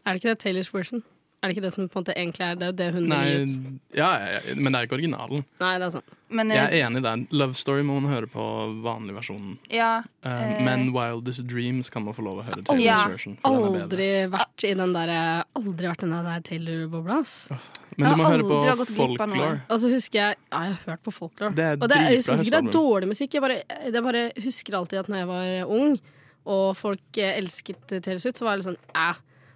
[SPEAKER 5] Er det ikke det Taylors version? Er det ikke det som på en måte egentlig er det, er jo det hun vil
[SPEAKER 4] Nei,
[SPEAKER 5] gi ut?
[SPEAKER 4] ja, ja, ja, men det er ikke originalen.
[SPEAKER 5] Nei, det er sant.
[SPEAKER 3] Men,
[SPEAKER 4] Jeg
[SPEAKER 3] eh,
[SPEAKER 4] er enig der. Love Story må man høre på vanlig versjonen.
[SPEAKER 3] ja,
[SPEAKER 4] Eh,
[SPEAKER 3] Eh.
[SPEAKER 4] Men Wildest Dreams kan man få lov å høre Taylor's
[SPEAKER 3] Ja.
[SPEAKER 4] version. For den er bedre.
[SPEAKER 5] Aldri vært i den der, aldri vært i den der Taylor-bobla, ass.
[SPEAKER 4] Men du
[SPEAKER 3] Jeg
[SPEAKER 4] må
[SPEAKER 3] har
[SPEAKER 4] høre
[SPEAKER 3] aldri har
[SPEAKER 4] på
[SPEAKER 3] gått glipp av noe.
[SPEAKER 4] folklore.
[SPEAKER 5] Og så husker jeg Ja, jeg har hørt på folklore.
[SPEAKER 4] Det er
[SPEAKER 5] og det, jeg
[SPEAKER 4] dritbra
[SPEAKER 5] syns ikke det er
[SPEAKER 4] høstalbum.
[SPEAKER 5] dårlig musikk. Jeg bare, jeg bare husker alltid at når jeg var eh, ung, og folk eh, elsket Taylor Swift, så var jeg litt sånn æh.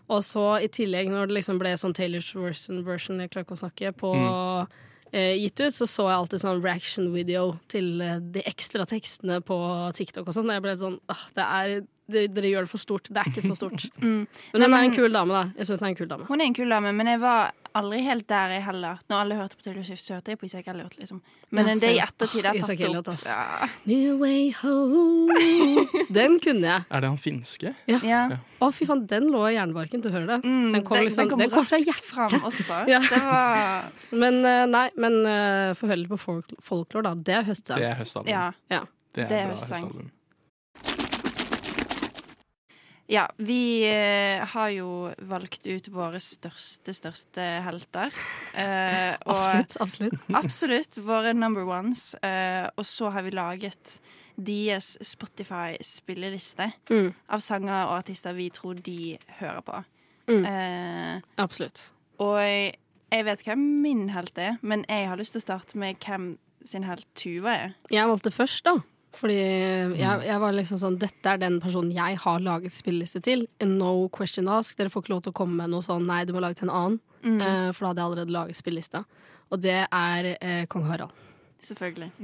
[SPEAKER 5] Og så i tillegg, når det liksom ble sånn Taylor Swift-version version, jeg klarer ikke å snakke, på
[SPEAKER 4] Mm.
[SPEAKER 5] eh, gitt ut, så så jeg alltid sånn reaction video til eh, de ekstra tekstene på TikTok og sånn. Og jeg ble sånn Åh, det er det, Dere gjør det for stort. Det er ikke så stort. Men hun er en kul dame, da. Jeg syns hun er en kul dame.
[SPEAKER 3] Hun er en kul dame, men jeg var aldri helt der, jeg heller. Når alle hørte på Taylor Swift, så hørte jeg på Isak Elliot, liksom. Men
[SPEAKER 5] Ja,
[SPEAKER 3] det i
[SPEAKER 5] selv.
[SPEAKER 3] ettertid
[SPEAKER 5] Åh,
[SPEAKER 3] er
[SPEAKER 5] Isaac
[SPEAKER 3] tatt
[SPEAKER 5] Elliot,
[SPEAKER 3] opp.
[SPEAKER 5] ass.
[SPEAKER 3] Ja.
[SPEAKER 5] New way home. Den kunne jeg.
[SPEAKER 4] Er det han finske?
[SPEAKER 3] Ja.
[SPEAKER 5] Å, fy faen, den lå i jernbarken. Du hører det.
[SPEAKER 3] Mm,
[SPEAKER 5] den kom, liksom, den kom fra hjertet.
[SPEAKER 3] fram også.
[SPEAKER 5] Ja.
[SPEAKER 3] Det var
[SPEAKER 5] Men eh, nei, men uh, få høre litt på folk, folklore, da. Det er høstsang.
[SPEAKER 4] Det er høstalbum.
[SPEAKER 3] Ja.
[SPEAKER 5] Ja.
[SPEAKER 4] Det er,
[SPEAKER 3] det er
[SPEAKER 4] bra
[SPEAKER 3] høstsang.
[SPEAKER 4] høstalbum.
[SPEAKER 3] ja. Vi eh, har jo valgt ut våre største, største helter. Eh, og
[SPEAKER 5] Absolutt. absolutt.
[SPEAKER 3] absolutt våre number ones. Eh, og så har vi laget deres Spotify-spilleliste
[SPEAKER 5] Mm,
[SPEAKER 3] av sanger og artister vi tror de hører på.
[SPEAKER 5] Mm.
[SPEAKER 3] Eh,
[SPEAKER 5] absolutt.
[SPEAKER 3] Og jeg, jeg vet hvem min helt er, men jeg har lyst til å starte med hvem sin helt Tuva er.
[SPEAKER 5] Jeg valgte først, da. Fordi jeg, jeg var liksom sånn Dette er den personen jeg har laget spilleliste til. No question ask. Dere får ikke lov til å komme med noe sånn nei, du må lage til en annen. Eh, for da hadde jeg allerede laget spillelista. Og det er eh, kong Harald.
[SPEAKER 3] Selvfølgelig.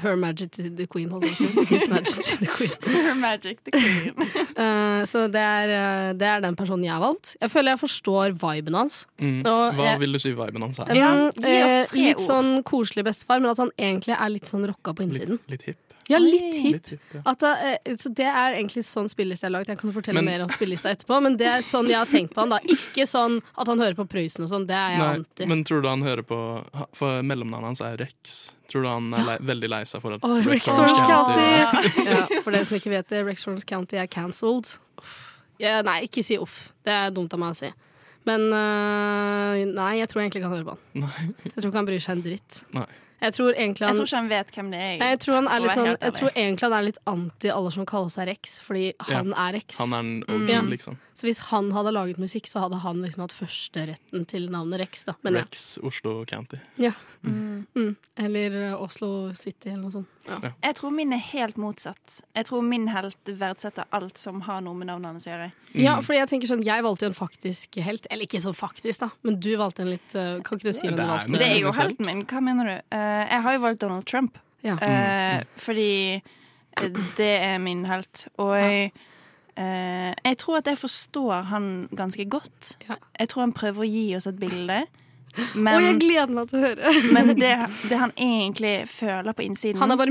[SPEAKER 5] Her Majesty the Queen, holdt jeg på å si. His Majesty the Queen.
[SPEAKER 3] Her Magic the Queen.
[SPEAKER 5] Eh, så det er, eh, det er den personen jeg har valgt. Jeg føler jeg forstår viben hans.
[SPEAKER 4] Mm.
[SPEAKER 5] Og
[SPEAKER 4] Hva
[SPEAKER 5] jeg-
[SPEAKER 4] vil du si viben hans er?
[SPEAKER 3] Ja,
[SPEAKER 5] Mm,
[SPEAKER 3] gi oss
[SPEAKER 5] eh,
[SPEAKER 3] tre
[SPEAKER 5] litt
[SPEAKER 3] ord.
[SPEAKER 5] sånn koselig bestefar, men at han egentlig er litt sånn rocka på innsiden.
[SPEAKER 4] Litt, litt hipp.
[SPEAKER 5] Ja, litt hipp.
[SPEAKER 4] Litt hipp ja.
[SPEAKER 5] At, eh, så det er egentlig sånn spilleliste jeg har lagd. Jeg kan fortelle
[SPEAKER 4] Men-
[SPEAKER 5] mer om spillelista etterpå, men det er sånn jeg har tenkt på han da. Ikke sånn at han hører på Prøysen og sånn, det er jeg anti.
[SPEAKER 4] Nei, men tror du han hører på ha- For mellomnavnet hans er Rex. Tror du han er lei, veldig lei seg for at
[SPEAKER 5] Åh, Rex
[SPEAKER 4] Orange
[SPEAKER 5] Orange
[SPEAKER 4] County-
[SPEAKER 5] Ja, for dere som ikke vet det, Rex Orange County er cancelled. Uff. Ja, nei, ikke si uff. Det er dumt av meg å si. Men eh, nei, jeg tror egentlig ikke han hører på han.
[SPEAKER 4] Nei,
[SPEAKER 5] Jeg tror ikke han bryr seg en dritt.
[SPEAKER 4] nei.
[SPEAKER 5] Jeg tror egentlig
[SPEAKER 3] Jeg
[SPEAKER 5] han
[SPEAKER 3] tror ikke han vet hvem det er.
[SPEAKER 5] Nei, jeg tror, han er
[SPEAKER 3] for å
[SPEAKER 5] litt
[SPEAKER 3] være
[SPEAKER 5] sånn,
[SPEAKER 3] helt
[SPEAKER 5] jeg
[SPEAKER 3] ærlig.
[SPEAKER 5] tror egentlig han er litt anti alle som kaller seg Rex, fordi han er Rex.
[SPEAKER 4] Han er en OG,
[SPEAKER 5] Ja.
[SPEAKER 4] liksom.
[SPEAKER 5] Så hvis han hadde laget musikk, så hadde han liksom hatt førsteretten til navnet Rex. Da. Men, ja.
[SPEAKER 4] Rex Oslo County.
[SPEAKER 5] Ja. Mm. Eller eh, Oslo City eller noe sånt. Ja.
[SPEAKER 4] Ja.
[SPEAKER 3] Jeg tror min er helt motsatt. Jeg tror min helt verdsetter alt som har noe med navnet hans å gjøre.
[SPEAKER 4] Mm.
[SPEAKER 5] ja, fordi jeg tenker sånn, jeg valgte jo en faktisk helt. Eller ikke så faktisk, da, men du valgte en litt eh, Kan ikke du si
[SPEAKER 4] Det
[SPEAKER 5] hvem du
[SPEAKER 4] er
[SPEAKER 5] valgte?
[SPEAKER 4] jo-
[SPEAKER 3] Det er jo
[SPEAKER 4] Helt.
[SPEAKER 3] helten min. Hva mener du? Eh, jeg har jo valgt Donald Trump,
[SPEAKER 5] Ja.
[SPEAKER 3] eh, fordi eh, det er min helt. Og jeg, eh, jeg tror at jeg forstår han ganske godt.
[SPEAKER 5] Ja.
[SPEAKER 3] Jeg tror han prøver å gi oss et bilde,
[SPEAKER 5] Å, jeg
[SPEAKER 3] men,
[SPEAKER 5] gleder meg til å høre!
[SPEAKER 3] men det, det han egentlig føler på innsiden
[SPEAKER 5] Han er bare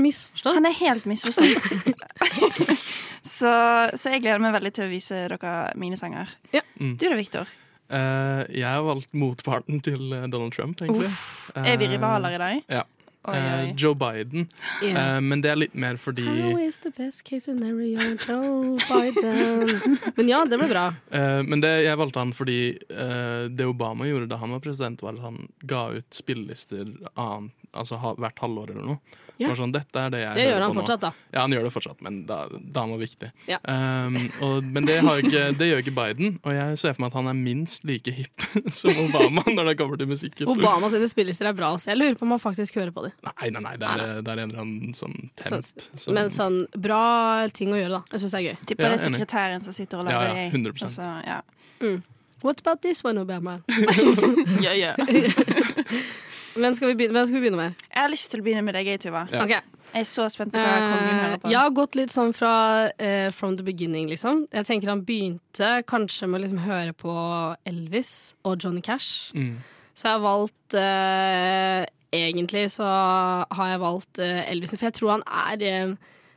[SPEAKER 3] Mm.
[SPEAKER 5] misforstått.
[SPEAKER 3] Han er helt misforstått. så, så jeg gleder meg veldig til å vise dere mine sanger.
[SPEAKER 5] Ja.
[SPEAKER 4] Mm.
[SPEAKER 3] Du da, Victor.
[SPEAKER 4] Eh, jeg har valgt motparten til eh, Donald Trump, egentlig. Eh,
[SPEAKER 3] Er vi rivaler i dag?
[SPEAKER 4] Ja.
[SPEAKER 3] Oi, oi.
[SPEAKER 4] Eh, Joe Biden.
[SPEAKER 5] Yeah.
[SPEAKER 4] Eh, men det er litt mer fordi
[SPEAKER 5] How is the best case scenario, Joe Biden? Men ja, det ble bra.
[SPEAKER 4] Eh, Men det, jeg valgte han fordi eh, det Obama gjorde da han var president, var at han ga ut spillelister annen, altså, ha, hvert halvår eller noe.
[SPEAKER 5] Ja.
[SPEAKER 4] Bare Sånn, Dette er det jeg
[SPEAKER 5] Det
[SPEAKER 4] hører
[SPEAKER 5] gjør han
[SPEAKER 4] på nå.
[SPEAKER 5] fortsatt, da.
[SPEAKER 4] Ja, han gjør det fortsatt, men da, da han var viktig.
[SPEAKER 5] Ja.
[SPEAKER 4] Ehm, og, men det, har jo ikke, det gjør ikke Biden, og jeg ser for meg at han er minst like hipp som Obama når det kommer til musikken.
[SPEAKER 5] Obama sine spillelister er bra, så jeg lurer på om han faktisk hører på dem.
[SPEAKER 4] Nei, nei, nei, det er, det er en eller annen sånn temp. som-
[SPEAKER 5] Men sånn bra ting å gjøre, da. Jeg syns det er gøy.
[SPEAKER 3] Tipper
[SPEAKER 4] Ja,
[SPEAKER 3] det er
[SPEAKER 4] enig.
[SPEAKER 3] sekretæren som sitter og
[SPEAKER 4] Ja,
[SPEAKER 3] lager
[SPEAKER 4] ja,
[SPEAKER 3] de.
[SPEAKER 4] 100%.
[SPEAKER 3] Og så, ja.
[SPEAKER 5] What about this one, Obama?
[SPEAKER 3] Ja, ja.
[SPEAKER 5] Hvem skal vi begynne, hvem skal vi begynne med?
[SPEAKER 3] Jeg har lyst til å begynne med deg, jeg, Tuva.
[SPEAKER 4] Ja.
[SPEAKER 5] Ok.
[SPEAKER 3] Jeg er så spent på hva kongen
[SPEAKER 5] Eh,
[SPEAKER 3] hører på.
[SPEAKER 5] jeg har gått litt sånn fra eh, from the beginning, liksom. Jeg tenker han begynte kanskje med å liksom høre på Elvis og Johnny Cash.
[SPEAKER 4] Mm.
[SPEAKER 5] Så jeg har valgt eh, Egentlig så har jeg valgt eh, Elvis, for jeg tror han er eh,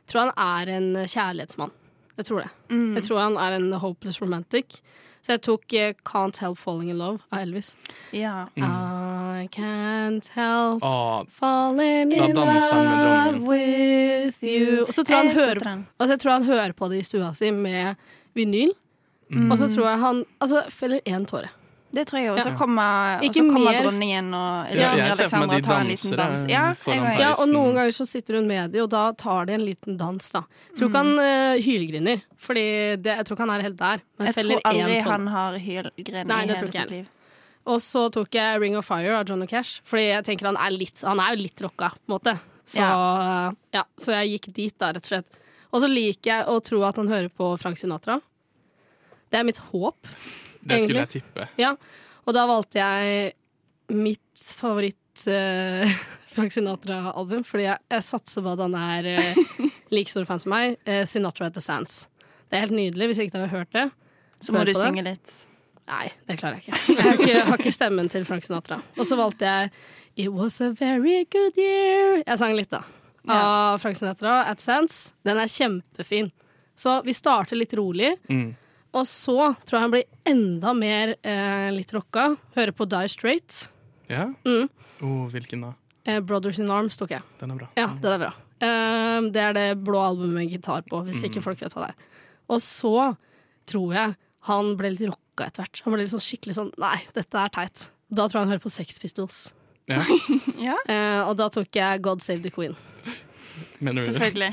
[SPEAKER 5] tror han er en kjærlighetsmann. Jeg tror det.
[SPEAKER 3] Mm.
[SPEAKER 5] Jeg tror han er en hopeless romantic. Så jeg tok eh, Can't Help Falling in Love av Elvis.
[SPEAKER 3] Ja.
[SPEAKER 5] I can't help
[SPEAKER 4] Ah,
[SPEAKER 5] Falling
[SPEAKER 4] Da
[SPEAKER 5] in
[SPEAKER 4] danser han med
[SPEAKER 5] love
[SPEAKER 4] dronningen.
[SPEAKER 5] with you Og så tror jeg han
[SPEAKER 3] Jeg støtter
[SPEAKER 5] hører,
[SPEAKER 3] den.
[SPEAKER 5] altså jeg tror han hører på det i stua si med vinyl.
[SPEAKER 4] Mm.
[SPEAKER 5] Og så tror jeg han altså, feller én tåre.
[SPEAKER 3] Det tror jeg også
[SPEAKER 4] Ja.
[SPEAKER 3] kommer, og
[SPEAKER 5] Ikke
[SPEAKER 3] så kommer
[SPEAKER 5] mer-
[SPEAKER 3] dronningen og
[SPEAKER 4] Ja,
[SPEAKER 3] Alexandra
[SPEAKER 4] jeg ser for meg de
[SPEAKER 3] og tar en liten
[SPEAKER 4] danser,
[SPEAKER 3] dans.
[SPEAKER 4] eh,
[SPEAKER 3] Ja,
[SPEAKER 4] foran
[SPEAKER 3] jeg,
[SPEAKER 5] Ja,
[SPEAKER 3] jeg,
[SPEAKER 4] deg.
[SPEAKER 5] Og
[SPEAKER 4] Reisen.
[SPEAKER 5] noen ganger så sitter hun med de, og da tar de en liten dans. da Jeg tror ikke
[SPEAKER 4] Mm.
[SPEAKER 5] han eh, hylgriner, Fordi det, jeg tror ikke han er helt der. Men
[SPEAKER 3] jeg
[SPEAKER 5] feller
[SPEAKER 3] tror aldri
[SPEAKER 5] én tåre.
[SPEAKER 3] han har hylgren i
[SPEAKER 5] Nei, det tror
[SPEAKER 3] hele
[SPEAKER 5] ikke jeg.
[SPEAKER 3] sitt liv.
[SPEAKER 5] Og så tok jeg Ring of Fire av Johnny Cash, fordi jeg tenker han er, litt, han er jo litt rocka, på en måte. Så, ja. så jeg gikk dit, da, rett og slett. Og så liker jeg å tro at han hører på Frank Sinatra. Det er mitt håp.
[SPEAKER 4] det skulle jeg
[SPEAKER 5] egentlig.
[SPEAKER 4] tippe.
[SPEAKER 5] Ja. Og da valgte jeg mitt favoritt eh, Frank Sinatra-album, fordi jeg, jeg satser på at han er eh, like stor fan som meg. eh, Sinatra at the Sands. Det er helt nydelig, hvis ikke dere har hørt det.
[SPEAKER 3] Så må
[SPEAKER 5] Hør
[SPEAKER 3] du
[SPEAKER 5] på det.
[SPEAKER 3] synge litt.
[SPEAKER 5] Nei, det klarer jeg ikke. Jeg har ikke, har ikke stemmen til Frank Sinatra. Og så valgte jeg It was a very good year. Jeg sang litt, da. Av Frank Sinatra, At Sands. Den er kjempefin. Så vi starter litt rolig. Og så tror jeg han blir enda mer eh, litt rocka. Hører på Die Straight.
[SPEAKER 4] Ja? Oh, hvilken da?
[SPEAKER 5] Eh, Brothers in Arms tok jeg.
[SPEAKER 4] Den er bra.
[SPEAKER 5] Ja, den er bra. Ehm, det er det blå albumet med gitar på, hvis ikke
[SPEAKER 4] Mm.
[SPEAKER 5] folk vet hva det er. Og så tror jeg han ble litt rocka etter hvert. Han ble litt sånn skikkelig sånn Nei, dette er teit. Da tror jeg han hører på Sex Pistols.
[SPEAKER 4] Ja,
[SPEAKER 3] Ja,
[SPEAKER 5] Eh, og da tok jeg God Save the Queen.
[SPEAKER 4] mener du,
[SPEAKER 3] selvfølgelig.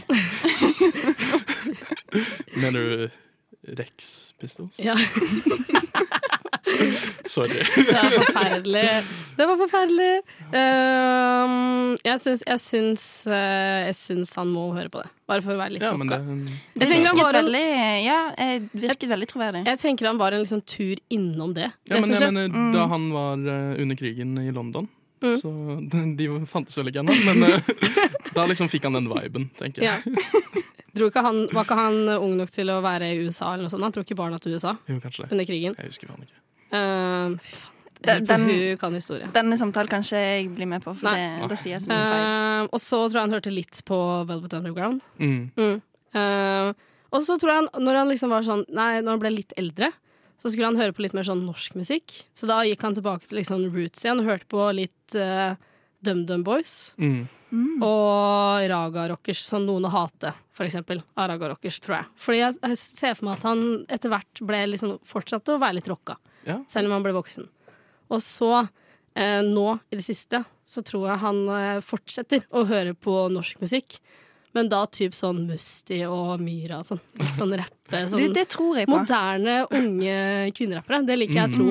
[SPEAKER 4] mener du Rex Pistols?
[SPEAKER 5] Ja,
[SPEAKER 4] Sorry.
[SPEAKER 5] det er forferdelig. Det var forferdelig. Ehm, jeg syns jeg syns, eh, jeg syns han må høre på det. Bare for å være litt
[SPEAKER 4] Ja, men
[SPEAKER 5] rocka.
[SPEAKER 4] det
[SPEAKER 3] Det
[SPEAKER 5] tenker
[SPEAKER 3] virket
[SPEAKER 5] han var en-
[SPEAKER 3] veldig, ja, eh, virket veldig troverdig.
[SPEAKER 5] Jeg tenker han var en liksom tur innom det.
[SPEAKER 4] Ja,
[SPEAKER 5] Rett
[SPEAKER 4] men
[SPEAKER 5] og
[SPEAKER 4] jeg
[SPEAKER 5] slett.
[SPEAKER 4] mener, Da han var eh, under krigen i London, så de, de fantes vel ikke ennå, men eh, da liksom fikk han den viben, tenker
[SPEAKER 5] Ja.
[SPEAKER 4] jeg.
[SPEAKER 5] Tror ikke han, var ikke han ung nok til å være i USA eller noe sånt? Han tror ikke barna til USA
[SPEAKER 4] Jo, kanskje det.
[SPEAKER 5] under krigen.
[SPEAKER 4] Jeg husker faen ikke.
[SPEAKER 5] Uh, fy faen,
[SPEAKER 3] Den-
[SPEAKER 5] jeg lurer på
[SPEAKER 3] den-
[SPEAKER 5] hun kan historie.
[SPEAKER 3] Denne samtalen kan ikke jeg bli med på, for
[SPEAKER 5] Nei.
[SPEAKER 3] det, da sier jeg så mye feil.
[SPEAKER 5] Eh, og så tror jeg han hørte litt på Velvet Underground.
[SPEAKER 4] Mm.
[SPEAKER 5] Eh, og så tror jeg han, når han liksom var sånn Nei, når han ble litt eldre, så skulle han høre på litt mer sånn norsk musikk. Så da gikk han tilbake til liksom roots igjen og hørte på litt eh, DumDum Boys.
[SPEAKER 4] Mm.
[SPEAKER 5] Og Raga Rockers, som noen å hate, for eksempel. Av Raga Rockers, tror jeg. Fordi jeg jeg ser for meg at han etter hvert ble liksom fortsatte å være litt rocka.
[SPEAKER 4] Ja.
[SPEAKER 5] Selv om han ble voksen. Og så, eh, nå i det siste, så tror jeg han eh, fortsetter å høre på norsk musikk. Men da typ sånn Musti og Myra og sånn. Litt sånn rappe.
[SPEAKER 3] Du,
[SPEAKER 5] Sånn
[SPEAKER 3] det tror jeg på. Mm.
[SPEAKER 5] moderne, unge kvinnerappere. Det liker jeg å tro.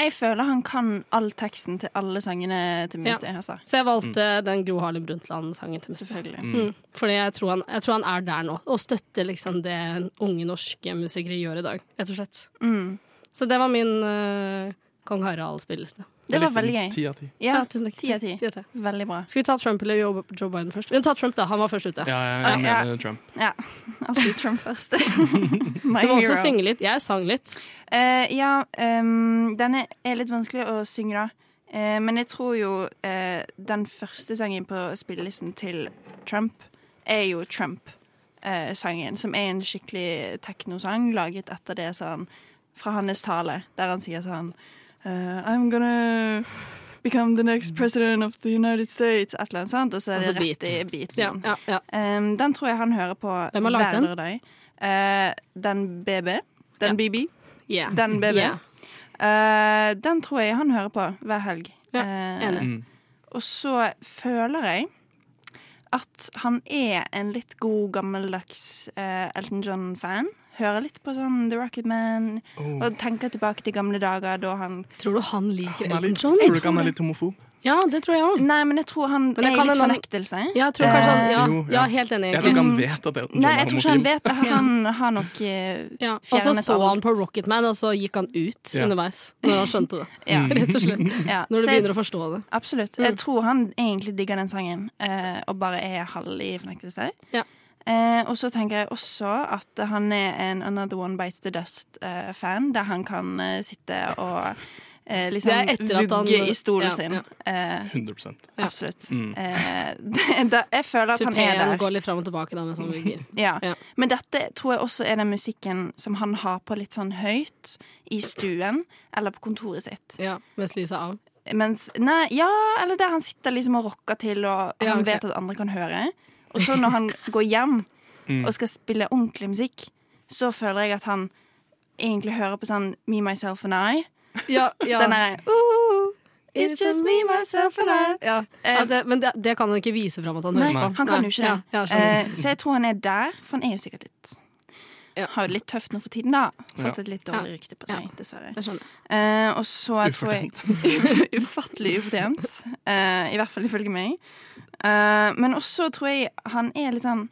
[SPEAKER 3] Jeg føler han kan all teksten til alle sangene til Mr. Hessa.
[SPEAKER 5] Så jeg valgte den Gro Harlem Brundtland-sangen til Musti.
[SPEAKER 3] Selvfølgelig.
[SPEAKER 5] Mm. Fordi jeg tror, han, jeg tror han er der nå, og støtter liksom det unge norske musikere gjør i dag, rett og slett.
[SPEAKER 3] Mm.
[SPEAKER 5] Så det var min eh, Kong Harald-spilleliste.
[SPEAKER 3] Det var veldig gøy.
[SPEAKER 4] sånn Ti av ti.
[SPEAKER 3] Ja,
[SPEAKER 5] tusen takk.
[SPEAKER 3] ti av ti.
[SPEAKER 5] Ti av ti.
[SPEAKER 3] Veldig bra.
[SPEAKER 5] Skal vi ta Trump eller Joe Joe Biden først? Vi tar Trump, da. Han var først ute.
[SPEAKER 4] Ja, jeg, jeg
[SPEAKER 3] Ja.
[SPEAKER 4] mener Trump.
[SPEAKER 3] Ja. Alltid Trump først. My
[SPEAKER 5] Du må
[SPEAKER 3] hero.
[SPEAKER 5] også synge litt. Jeg sang litt.
[SPEAKER 3] Eh, ja, ehm, den er- er litt vanskelig å synge, da. Eh, men jeg tror jo eh, den første sangen på spillelisten til Trump er jo Trump-sangen, som er en skikkelig teknosang laget etter det sånn fra hans tale, der han sier sånn eh, I'm gonna become the next president of the United States, et eller annet sånt, og så er
[SPEAKER 5] Altså
[SPEAKER 3] det rett
[SPEAKER 5] beat.
[SPEAKER 3] i beaten.
[SPEAKER 5] Ja, ja, ja.
[SPEAKER 3] Ehm, den tror jeg han hører på
[SPEAKER 5] Hvem har laget
[SPEAKER 3] hver
[SPEAKER 5] den?
[SPEAKER 3] lørdag. Eh, den BB. Den BB.
[SPEAKER 5] Yeah.
[SPEAKER 3] Den BB.
[SPEAKER 5] Yeah.
[SPEAKER 3] Eh, den tror jeg han hører på hver helg.
[SPEAKER 5] Ja,
[SPEAKER 3] Eh,
[SPEAKER 5] enig.
[SPEAKER 4] Mm.
[SPEAKER 3] og så føler jeg at han er en litt god, gammeldags eh, Elton John-fan. Hører litt på sånn The Rocket Man
[SPEAKER 4] Oh.
[SPEAKER 3] og tenker tilbake til gamle dager da han
[SPEAKER 5] Tror du han liker
[SPEAKER 4] Han er
[SPEAKER 5] Elton
[SPEAKER 4] litt-
[SPEAKER 5] John?
[SPEAKER 4] Tror du ikke han er litt homofob?
[SPEAKER 5] Ja, det tror jeg òg.
[SPEAKER 3] Nei, men jeg tror han
[SPEAKER 5] Men jeg
[SPEAKER 3] er i
[SPEAKER 5] kan
[SPEAKER 3] litt
[SPEAKER 5] en annen-
[SPEAKER 3] fornektelse.
[SPEAKER 5] Ja, jeg tror kanskje han, ja,
[SPEAKER 4] Eh, Jo, ja.
[SPEAKER 5] ja, helt enig,
[SPEAKER 4] Jeg tror ikke
[SPEAKER 5] egentlig.
[SPEAKER 4] han vet at Elton John
[SPEAKER 3] Nei,
[SPEAKER 4] er
[SPEAKER 3] jeg tror ikke han
[SPEAKER 4] homofil.
[SPEAKER 3] vet det. Han har nok eh,
[SPEAKER 5] Ja. Og så
[SPEAKER 3] fjernet
[SPEAKER 5] så han
[SPEAKER 3] alt.
[SPEAKER 5] på Rocketman, og så gikk han ut
[SPEAKER 4] Ja.
[SPEAKER 5] underveis når han skjønte det.
[SPEAKER 3] Ja.
[SPEAKER 5] Rett og slett.
[SPEAKER 3] ja.
[SPEAKER 5] Når du
[SPEAKER 3] Så jeg-
[SPEAKER 5] begynner å forstå det.
[SPEAKER 3] Absolutt.
[SPEAKER 5] Mm.
[SPEAKER 3] Jeg tror han egentlig digger den sangen, eh, og bare er halv i fornektelse.
[SPEAKER 5] Ja.
[SPEAKER 3] Eh, og så tenker jeg også at han er en Another One Bites The Dust-fan, der han kan eh, sitte og eh,
[SPEAKER 5] Det er
[SPEAKER 3] liksom
[SPEAKER 5] etter at han-
[SPEAKER 3] vugge i stolen
[SPEAKER 5] ja,
[SPEAKER 3] sin.
[SPEAKER 5] ja.
[SPEAKER 3] Eh,
[SPEAKER 4] 100
[SPEAKER 5] Ja.
[SPEAKER 3] absolutt.
[SPEAKER 4] Mm.
[SPEAKER 3] Eh, det, da- jeg føler at han er
[SPEAKER 5] Tupeen
[SPEAKER 3] der.
[SPEAKER 5] går litt fram og tilbake da mens han vugger.
[SPEAKER 3] Ja.
[SPEAKER 5] Ja.
[SPEAKER 3] Men dette tror jeg også er den musikken som han har på litt sånn høyt i stuen eller på kontoret sitt.
[SPEAKER 5] Ja, mens lyset er av.
[SPEAKER 3] Mens, nei, ja, eller der han sitter liksom og rocker til, og
[SPEAKER 5] Ja,
[SPEAKER 3] han
[SPEAKER 5] ok.
[SPEAKER 3] vet at andre kan høre. Og så når han går hjem og skal spille ordentlig musikk, så føler jeg at han egentlig hører på sånn Me, Myself and I.
[SPEAKER 5] Ja, ja.
[SPEAKER 3] Den derre «Ooh, It's just me, myself and I.
[SPEAKER 5] Ja. Altså, men det, det kan han ikke vise fram at han
[SPEAKER 3] Nei,
[SPEAKER 5] hører på.
[SPEAKER 3] han kan jo ikke det.
[SPEAKER 5] Ja, ja, skjønner.
[SPEAKER 3] Eh, så jeg tror han er der, for han er jo sikkert litt
[SPEAKER 5] Ja.
[SPEAKER 3] Har jo det litt tøft nå for tiden, da. Fått
[SPEAKER 4] Ja.
[SPEAKER 3] et litt dårlig
[SPEAKER 5] Ja.
[SPEAKER 3] rykte på seg,
[SPEAKER 5] Ja.
[SPEAKER 3] dessverre.
[SPEAKER 5] jeg skjønner.
[SPEAKER 3] Eh, og så tror jeg
[SPEAKER 4] Ufortjent.
[SPEAKER 3] Ufattelig ufortjent. eh, I hvert fall ifølge meg. Eh, men også tror jeg han er litt sånn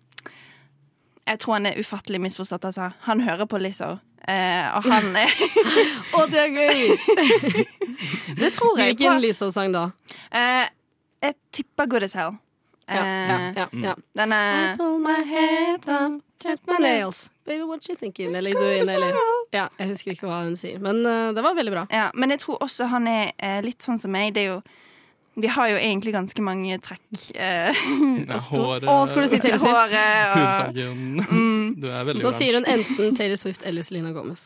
[SPEAKER 3] Jeg tror han er ufattelig misforstått, altså. Han hører på Lizzo. eh, og han er
[SPEAKER 5] Å, det er gøy!
[SPEAKER 3] Det tror jeg på.
[SPEAKER 5] Hvilken Lizzo-sang da?
[SPEAKER 3] Eh, jeg tipper Good as Hell.
[SPEAKER 5] Ja, ja,
[SPEAKER 3] Eh,
[SPEAKER 5] ja, ja.
[SPEAKER 3] Den er
[SPEAKER 5] Pull my head up, check my nails. Baby, what you thinking? Eller du in, eller Ja, jeg husker ikke hva hun sier, men eh, det var veldig bra.
[SPEAKER 3] ja, Men jeg tror også han er eh, litt sånn som meg. Det er jo Vi har jo egentlig ganske mange trekk. eh,
[SPEAKER 4] Nei,
[SPEAKER 3] stor-
[SPEAKER 4] håret-
[SPEAKER 5] Å, skulle du si Taylor Swift?
[SPEAKER 3] håret eh, og
[SPEAKER 4] eh, Hudfargen. Du er veldig
[SPEAKER 5] Da
[SPEAKER 4] oransje.
[SPEAKER 5] sier hun enten Taylor Swift eller Selena Gomez.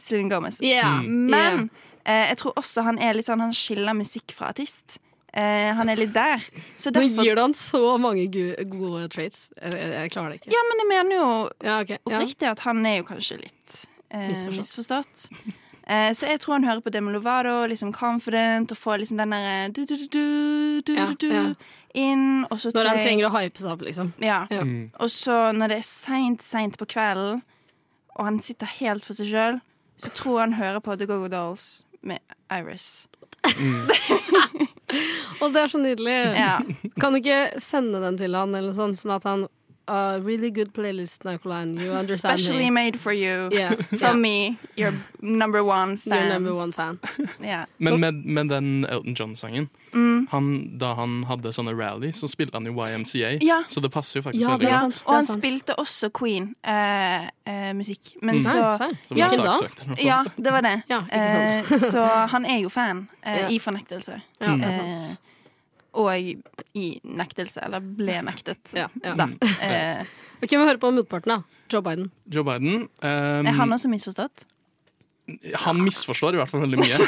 [SPEAKER 3] Celine Gomez.
[SPEAKER 5] Yeah,
[SPEAKER 3] Men
[SPEAKER 5] yeah.
[SPEAKER 3] eh, jeg tror også han er litt sånn Han skiller musikk fra artist. Eh, han er litt der. Så
[SPEAKER 5] Nå
[SPEAKER 3] derfor
[SPEAKER 5] gir du han så mange gu- gode traits. Jeg, jeg, jeg klarer det ikke.
[SPEAKER 3] Ja, men jeg mener jo
[SPEAKER 5] Ja, ok. Ja.
[SPEAKER 3] oppriktig at han er jo kanskje litt eh,
[SPEAKER 5] Misforstått.
[SPEAKER 3] misforstått. Eh, så jeg tror han hører på Demi Lovato, liksom Confident, og får liksom den derre
[SPEAKER 5] Ja, ja.
[SPEAKER 3] inn, og så
[SPEAKER 5] Når
[SPEAKER 3] tror
[SPEAKER 5] han
[SPEAKER 3] jeg-
[SPEAKER 5] trenger å hype seg opp, liksom.
[SPEAKER 3] Ja.
[SPEAKER 5] Ja.
[SPEAKER 3] Og så når det er seint, seint på kvelden, og han sitter helt for seg sjøl, så tror jeg han hører på The Go-Go Dolls med Iris.
[SPEAKER 5] Å, det er så nydelig!
[SPEAKER 3] Ja.
[SPEAKER 5] Kan du ikke sende den til han, eller noe sånt, sånn at han uh, Really good playlist, Nicoline. You understand
[SPEAKER 3] Specially
[SPEAKER 5] me.
[SPEAKER 3] made for you.
[SPEAKER 5] Yeah,
[SPEAKER 3] From
[SPEAKER 5] yeah.
[SPEAKER 3] me, your number one fan.
[SPEAKER 5] You're number one fan.
[SPEAKER 3] Ja.
[SPEAKER 4] Men med, med den Elton John-sangen
[SPEAKER 5] Mm.
[SPEAKER 4] han, Da han hadde sånne rally, så spilte han jo YMCA.
[SPEAKER 3] Ja.
[SPEAKER 4] Så det passer jo faktisk
[SPEAKER 5] Ja,
[SPEAKER 4] veldig
[SPEAKER 5] det er
[SPEAKER 4] godt.
[SPEAKER 5] sant, det
[SPEAKER 3] Og
[SPEAKER 5] er
[SPEAKER 3] han
[SPEAKER 5] sant.
[SPEAKER 3] spilte også Queen-musikk. Men
[SPEAKER 4] Mm.
[SPEAKER 5] Nei,
[SPEAKER 3] så
[SPEAKER 5] serr.
[SPEAKER 4] Som
[SPEAKER 3] Ja.
[SPEAKER 4] var saksøkt eller noe sånt.
[SPEAKER 3] Ja, det var det.
[SPEAKER 5] Ja, ikke sant.
[SPEAKER 3] Eh, så han er jo fan eh,
[SPEAKER 5] Ja.
[SPEAKER 3] i fornektelse.
[SPEAKER 5] Ja, det er sant.
[SPEAKER 3] Eh, og i nektelse, eller ble nektet.
[SPEAKER 5] Ja, ja. Mm.
[SPEAKER 3] Da. Eh,
[SPEAKER 5] Ok, Vi hører på motparten, da. Joe Biden.
[SPEAKER 4] Joe Biden ehm,
[SPEAKER 3] er han også misforstått?
[SPEAKER 4] Han misforstår i hvert fall veldig mye.